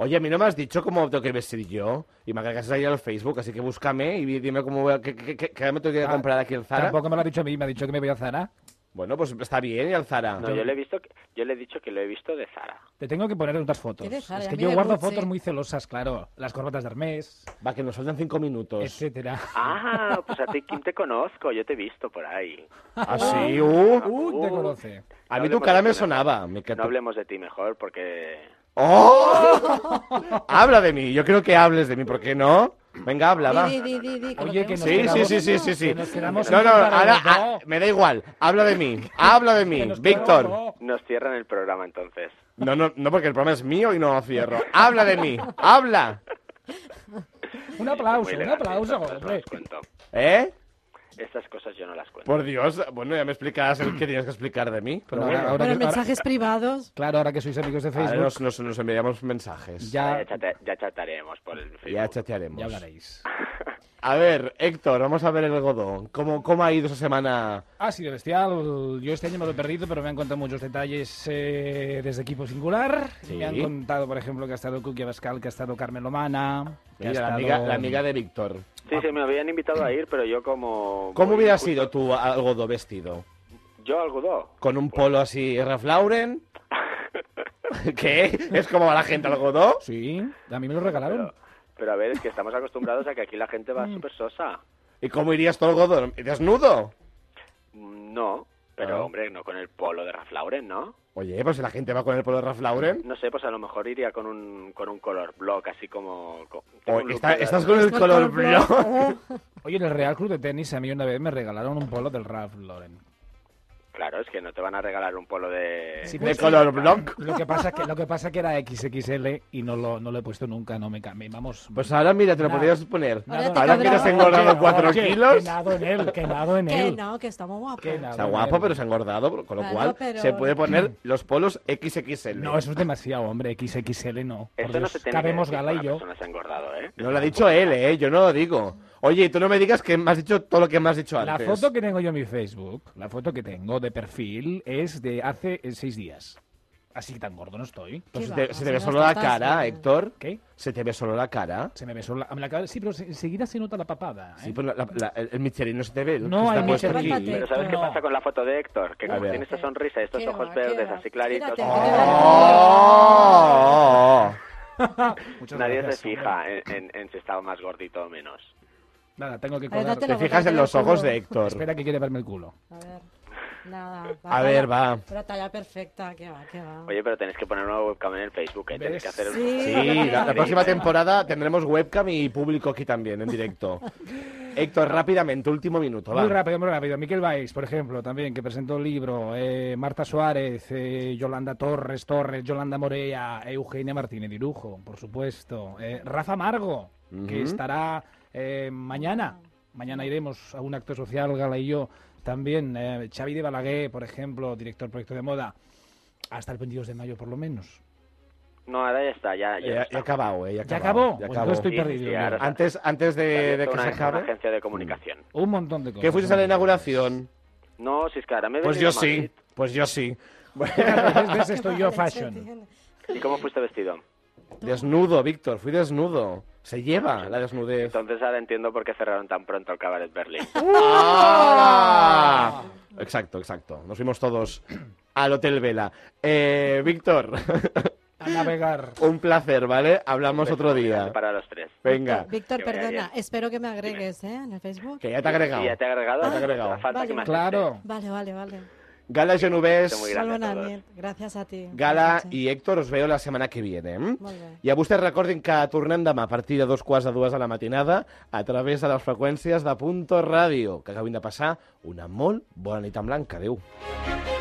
[SPEAKER 2] Oye, a mí no me has dicho cómo tengo que vestir yo. Y me cargas ahí al Facebook, así que búscame y dime cómo voy a- qué, qué- qué- qué me tengo que
[SPEAKER 4] Ah,
[SPEAKER 2] comprar aquí en Zara.
[SPEAKER 4] Tampoco me lo ha dicho a mí, me ha dicho que me voy a Zara.
[SPEAKER 2] Bueno, pues está bien, y al Zara.
[SPEAKER 6] No, yo le he visto, que- yo le he dicho que lo he visto de Zara.
[SPEAKER 4] Te tengo que poner unas fotos.
[SPEAKER 3] Tiene Zara,
[SPEAKER 4] Es
[SPEAKER 3] a
[SPEAKER 4] que
[SPEAKER 3] mí
[SPEAKER 4] yo
[SPEAKER 3] de
[SPEAKER 4] guardo
[SPEAKER 3] Gucci.
[SPEAKER 4] fotos muy celosas, claro. Las corbatas de Hermes,
[SPEAKER 2] Va, que nos faltan cinco minutos.
[SPEAKER 4] etcétera.
[SPEAKER 6] Ah, pues a ti, ¿quién te conozco? Yo te he visto por ahí.
[SPEAKER 2] Ah, sí, uh.
[SPEAKER 4] Uh, te conoce.
[SPEAKER 2] A
[SPEAKER 6] No
[SPEAKER 2] mí tu
[SPEAKER 6] hablemos
[SPEAKER 2] cara
[SPEAKER 6] de
[SPEAKER 2] me
[SPEAKER 6] ti, no.
[SPEAKER 2] sonaba. me
[SPEAKER 6] No
[SPEAKER 2] cato-
[SPEAKER 6] hablemos de ti mejor, porque...
[SPEAKER 2] ¡Oh! <laughs> Habla de mí, yo creo que hables de mí, ¿por qué no? Venga, habla, va.
[SPEAKER 3] Di, di, di, di, lo
[SPEAKER 4] Oye, que
[SPEAKER 3] tenemos
[SPEAKER 4] nos
[SPEAKER 2] Sí, sí,
[SPEAKER 4] quedamos-
[SPEAKER 2] sí, sí, sí, sí.
[SPEAKER 4] que nos quedamos
[SPEAKER 2] No, no,
[SPEAKER 4] sin para
[SPEAKER 2] ahora
[SPEAKER 4] los dos.
[SPEAKER 2] ah, me da igual. Habla de mí, habla de
[SPEAKER 4] <laughs> Que
[SPEAKER 2] mí,
[SPEAKER 4] nos
[SPEAKER 2] Víctor.
[SPEAKER 4] quedamos-
[SPEAKER 6] Nos cierran el programa entonces.
[SPEAKER 2] No, no, no, porque el programa es mío y no lo cierro. Habla de mí, habla.
[SPEAKER 4] Un aplauso,
[SPEAKER 6] Muy
[SPEAKER 4] un
[SPEAKER 6] elegante,
[SPEAKER 4] aplauso,
[SPEAKER 6] estas cosas no
[SPEAKER 4] hombre.
[SPEAKER 6] las cuento.
[SPEAKER 2] ¿Eh?
[SPEAKER 6] Estas cosas yo no las cuento.
[SPEAKER 2] Por Dios, bueno, ya me explicarás el que tienes que explicar de mí. Pero
[SPEAKER 4] No,
[SPEAKER 2] bueno,
[SPEAKER 4] ahora- ahora
[SPEAKER 3] Bueno,
[SPEAKER 4] que- ahora-
[SPEAKER 3] mensajes privados.
[SPEAKER 4] Claro, ahora que sois amigos de
[SPEAKER 2] ahora
[SPEAKER 4] Facebook,
[SPEAKER 2] nos, nos- nos enviamos mensajes. Ya,
[SPEAKER 4] ya,
[SPEAKER 6] Ya, chate- ya chataremos por el Facebook.
[SPEAKER 2] chatearemos.
[SPEAKER 4] ya hablaréis.
[SPEAKER 2] A ver, Héctor, vamos a ver el Godó. ¿Cómo, cómo ha ido esa semana?
[SPEAKER 4] Ha sido bestial. Yo este año me lo he perdido, pero me han contado muchos detalles eh, desde equipo singular.
[SPEAKER 2] Sí.
[SPEAKER 4] Me han contado, por ejemplo, que ha estado Cookie Abascal, que ha estado Carmen Lomana. que ha
[SPEAKER 2] Mira, la,
[SPEAKER 4] estado-
[SPEAKER 2] amiga, la amiga de Víctor.
[SPEAKER 6] Sí, sí, me habían invitado a ir, pero yo como...
[SPEAKER 2] ¿Cómo
[SPEAKER 6] muy
[SPEAKER 2] hubiera
[SPEAKER 6] injusto-
[SPEAKER 2] sido tu al Godó vestido?
[SPEAKER 6] Yo al Godó.
[SPEAKER 2] ¿Con un polo así, Ralph Lauren? ¿Qué? ¿Es como va la gente al Godó?
[SPEAKER 4] Sí, a mí me lo regalaron.
[SPEAKER 6] Pero, pero a ver, es que estamos acostumbrados a que aquí la gente
[SPEAKER 4] Mm.
[SPEAKER 6] va súper sosa.
[SPEAKER 2] ¿Y cómo irías todo el Godó? ¿Desnudo?
[SPEAKER 6] Mm, No, pero
[SPEAKER 2] Ah.
[SPEAKER 6] hombre, no con el polo de Ralph Lauren, ¿no?
[SPEAKER 2] Oye, pues si la gente va con el polo de Ralph Lauren.
[SPEAKER 6] No sé, pues a lo mejor iría con un, con un color block, así como... co- tengo
[SPEAKER 2] O-
[SPEAKER 6] un look
[SPEAKER 2] está-
[SPEAKER 6] de-
[SPEAKER 2] ¿Estás con el
[SPEAKER 3] Con
[SPEAKER 2] color
[SPEAKER 3] color
[SPEAKER 2] blanco?
[SPEAKER 4] Oye, en el Real Club de Tenis a mí una vez me regalaron un polo del Ralph Lauren.
[SPEAKER 6] Claro, es que no te van a regalar un polo de...
[SPEAKER 4] Sí,
[SPEAKER 2] Eh,
[SPEAKER 4] pues,
[SPEAKER 2] ¿De color blanco?
[SPEAKER 4] Lo que pasa que lo que pasa que era XXL y no lo, no lo he puesto nunca, no me cambié. Vamos.
[SPEAKER 2] Pues ahora mira, te lo
[SPEAKER 4] Nada.
[SPEAKER 2] podrías poner.
[SPEAKER 4] Nada,
[SPEAKER 3] Ahora te
[SPEAKER 2] Ahora que
[SPEAKER 3] cabrá.
[SPEAKER 2] has engordado
[SPEAKER 4] Oye,
[SPEAKER 2] 4
[SPEAKER 4] oye, Que
[SPEAKER 2] kilos.
[SPEAKER 4] nado en él, que nado en
[SPEAKER 3] Que
[SPEAKER 4] <laughs> él.
[SPEAKER 3] no, que está muy guapo.
[SPEAKER 4] Que nado
[SPEAKER 2] Está
[SPEAKER 4] en
[SPEAKER 2] guapo,
[SPEAKER 4] él.
[SPEAKER 2] pero se ha engordado, con lo
[SPEAKER 3] Claro,
[SPEAKER 2] cual
[SPEAKER 3] pero-
[SPEAKER 2] se puede
[SPEAKER 4] <laughs>
[SPEAKER 2] poner los polos XXL.
[SPEAKER 4] No, eso es demasiado, hombre. XXL no.
[SPEAKER 2] pues
[SPEAKER 4] Por
[SPEAKER 6] Esto no
[SPEAKER 4] Dios,
[SPEAKER 6] se tiene
[SPEAKER 4] cabemos
[SPEAKER 6] que decir
[SPEAKER 4] Gala y
[SPEAKER 6] cuando
[SPEAKER 4] yo.
[SPEAKER 6] una persona se ha engordado, ¿eh?
[SPEAKER 2] No lo ha dicho él, ¿eh? Yo no lo digo. Oye, y tú no me digas que me has dicho todo lo que me has dicho
[SPEAKER 4] La
[SPEAKER 2] antes.
[SPEAKER 4] foto que tengo yo en mi Facebook, la foto que tengo de perfil es de hace eh, seis días. Así que tan gordo no estoy.
[SPEAKER 2] Pues
[SPEAKER 3] Qué
[SPEAKER 2] se te,
[SPEAKER 3] va,
[SPEAKER 2] se te ve
[SPEAKER 3] señor,
[SPEAKER 2] solo la
[SPEAKER 3] estás,
[SPEAKER 2] cara,
[SPEAKER 3] eh.
[SPEAKER 2] Héctor.
[SPEAKER 4] ¿Qué?
[SPEAKER 2] Se te ve solo la cara.
[SPEAKER 4] Se me besó la, me la cara- Sí, pero se- enseguida se nota la papada. ¿eh?
[SPEAKER 2] Sí, pues la- la- la- el, el Michelin no se te ve.
[SPEAKER 4] No,
[SPEAKER 2] que
[SPEAKER 4] el
[SPEAKER 2] está puesto
[SPEAKER 3] Michelin.
[SPEAKER 2] aquí.
[SPEAKER 6] Pero ¿sabes qué
[SPEAKER 4] No.
[SPEAKER 6] pasa con la foto de Héctor? Que
[SPEAKER 2] A
[SPEAKER 6] como
[SPEAKER 2] ver.
[SPEAKER 6] tiene esta sonrisa y estos
[SPEAKER 3] Qué
[SPEAKER 6] ojos
[SPEAKER 3] va, qué
[SPEAKER 6] verdes
[SPEAKER 3] va.
[SPEAKER 6] así claritos,
[SPEAKER 3] Mírate,
[SPEAKER 2] ¡Oh! oh, oh.
[SPEAKER 4] Muchas
[SPEAKER 6] nadie
[SPEAKER 4] gracias,
[SPEAKER 6] se fija en, en- en si estaba más gordito o menos.
[SPEAKER 4] Nada, tengo que
[SPEAKER 3] A ver,
[SPEAKER 4] colar.
[SPEAKER 3] date
[SPEAKER 2] Te
[SPEAKER 3] la
[SPEAKER 2] fijas en
[SPEAKER 3] botella
[SPEAKER 2] los
[SPEAKER 3] del
[SPEAKER 2] ojos
[SPEAKER 3] culo.
[SPEAKER 2] de Héctor.
[SPEAKER 4] Espera que quiere verme el culo.
[SPEAKER 3] A ver. Nada, va,
[SPEAKER 2] <laughs> A ver,
[SPEAKER 3] talla-
[SPEAKER 2] va.
[SPEAKER 3] Però talla perfecta, que va, que va.
[SPEAKER 6] Oye, pero tenéis que poner una webcam en el Facebook, ¿eh? Tenéis que hacer
[SPEAKER 3] Ah. Sí.
[SPEAKER 2] Sí,
[SPEAKER 3] Sí,
[SPEAKER 2] la, la
[SPEAKER 6] sí.
[SPEAKER 2] próxima temporada tendremos webcam y público aquí también, en directo. Héctor, rápidamente, último minuto, va.
[SPEAKER 4] Muy rápido, muy rápido. Miquel Valls, por ejemplo, también, que presentó el libro. eh, Marta Suárez, eh, Yolanda Torres, Torres, Yolanda Morea, Eugenia Martínez Dirujo, por supuesto. eh, Rafa Margo,
[SPEAKER 2] Ujú.
[SPEAKER 4] que estará eh, mañana. Mañana iremos a un acto social, Gala y yo. También eh, Xavi de Balaguer, por ejemplo, director proyecto de moda. Hasta el 22 de mayo, por lo menos.
[SPEAKER 6] No, ahora ya está, ya, ya
[SPEAKER 2] Eh,
[SPEAKER 6] está.
[SPEAKER 2] ya ha acabado, eh, ya ha
[SPEAKER 4] ¿Ya
[SPEAKER 2] acabado,
[SPEAKER 4] acabó?
[SPEAKER 2] ya
[SPEAKER 4] Pues
[SPEAKER 2] acabó.
[SPEAKER 4] yo estoy
[SPEAKER 6] Sí,
[SPEAKER 4] perdido.
[SPEAKER 6] sí, ahora-
[SPEAKER 4] mira.
[SPEAKER 2] Antes, antes de, de
[SPEAKER 6] Abierto
[SPEAKER 2] que se
[SPEAKER 6] una-
[SPEAKER 2] acabe,
[SPEAKER 6] Una agencia de comunicación.
[SPEAKER 4] Un montón de cosas.
[SPEAKER 2] ¿qué fuiste a la inauguración?
[SPEAKER 6] No, si es que ahora me he
[SPEAKER 2] Pues
[SPEAKER 6] venido
[SPEAKER 2] yo
[SPEAKER 6] a Madrid.
[SPEAKER 2] sí, pues yo sí.
[SPEAKER 4] ¿Ves? ¿Ves?
[SPEAKER 3] <laughs>
[SPEAKER 4] Estoy yo
[SPEAKER 3] Vale, se
[SPEAKER 4] fashion.
[SPEAKER 3] entiende.
[SPEAKER 6] <laughs> ¿Y cómo fuiste vestido?
[SPEAKER 2] Desnudo, Víctor, fui desnudo. Se lleva la desnudez.
[SPEAKER 6] Entonces ahora entiendo por qué cerraron tan pronto el Cabaret Berlín.
[SPEAKER 2] ¡Ah! Exacto, exacto. Nos fuimos todos al Hotel Vela. Eh, Víctor,
[SPEAKER 4] A navegar.
[SPEAKER 2] un placer, ¿vale? Hablamos otro día.
[SPEAKER 6] Para los tres.
[SPEAKER 2] Venga,
[SPEAKER 3] Víctor,
[SPEAKER 6] Que vaya
[SPEAKER 3] perdona,
[SPEAKER 6] bien.
[SPEAKER 3] espero que me agregues, ¿eh? En el Facebook.
[SPEAKER 2] que ya te he agregado.
[SPEAKER 6] Sí, ya te he agregado.
[SPEAKER 2] Ya te he agregado.
[SPEAKER 6] Falta
[SPEAKER 3] Vale,
[SPEAKER 6] que me aceptes.
[SPEAKER 4] Claro.
[SPEAKER 3] Vale, vale, vale.
[SPEAKER 2] Gala Genovés,
[SPEAKER 6] Muy
[SPEAKER 3] Molt
[SPEAKER 6] grande a
[SPEAKER 3] bona
[SPEAKER 6] todos.
[SPEAKER 3] nit. Gràcies a ti.
[SPEAKER 2] Gala
[SPEAKER 3] Bona nit.
[SPEAKER 2] i Héctor, us veo la setmana que viene. eh?
[SPEAKER 3] Molt bé.
[SPEAKER 2] I a vostès recordin que tornem demà a partir de dos quarts de dues de la matinada a través de les freqüències de Punto Ràdio. Que acabin de passar una molt bona nit en blanc. Adéu.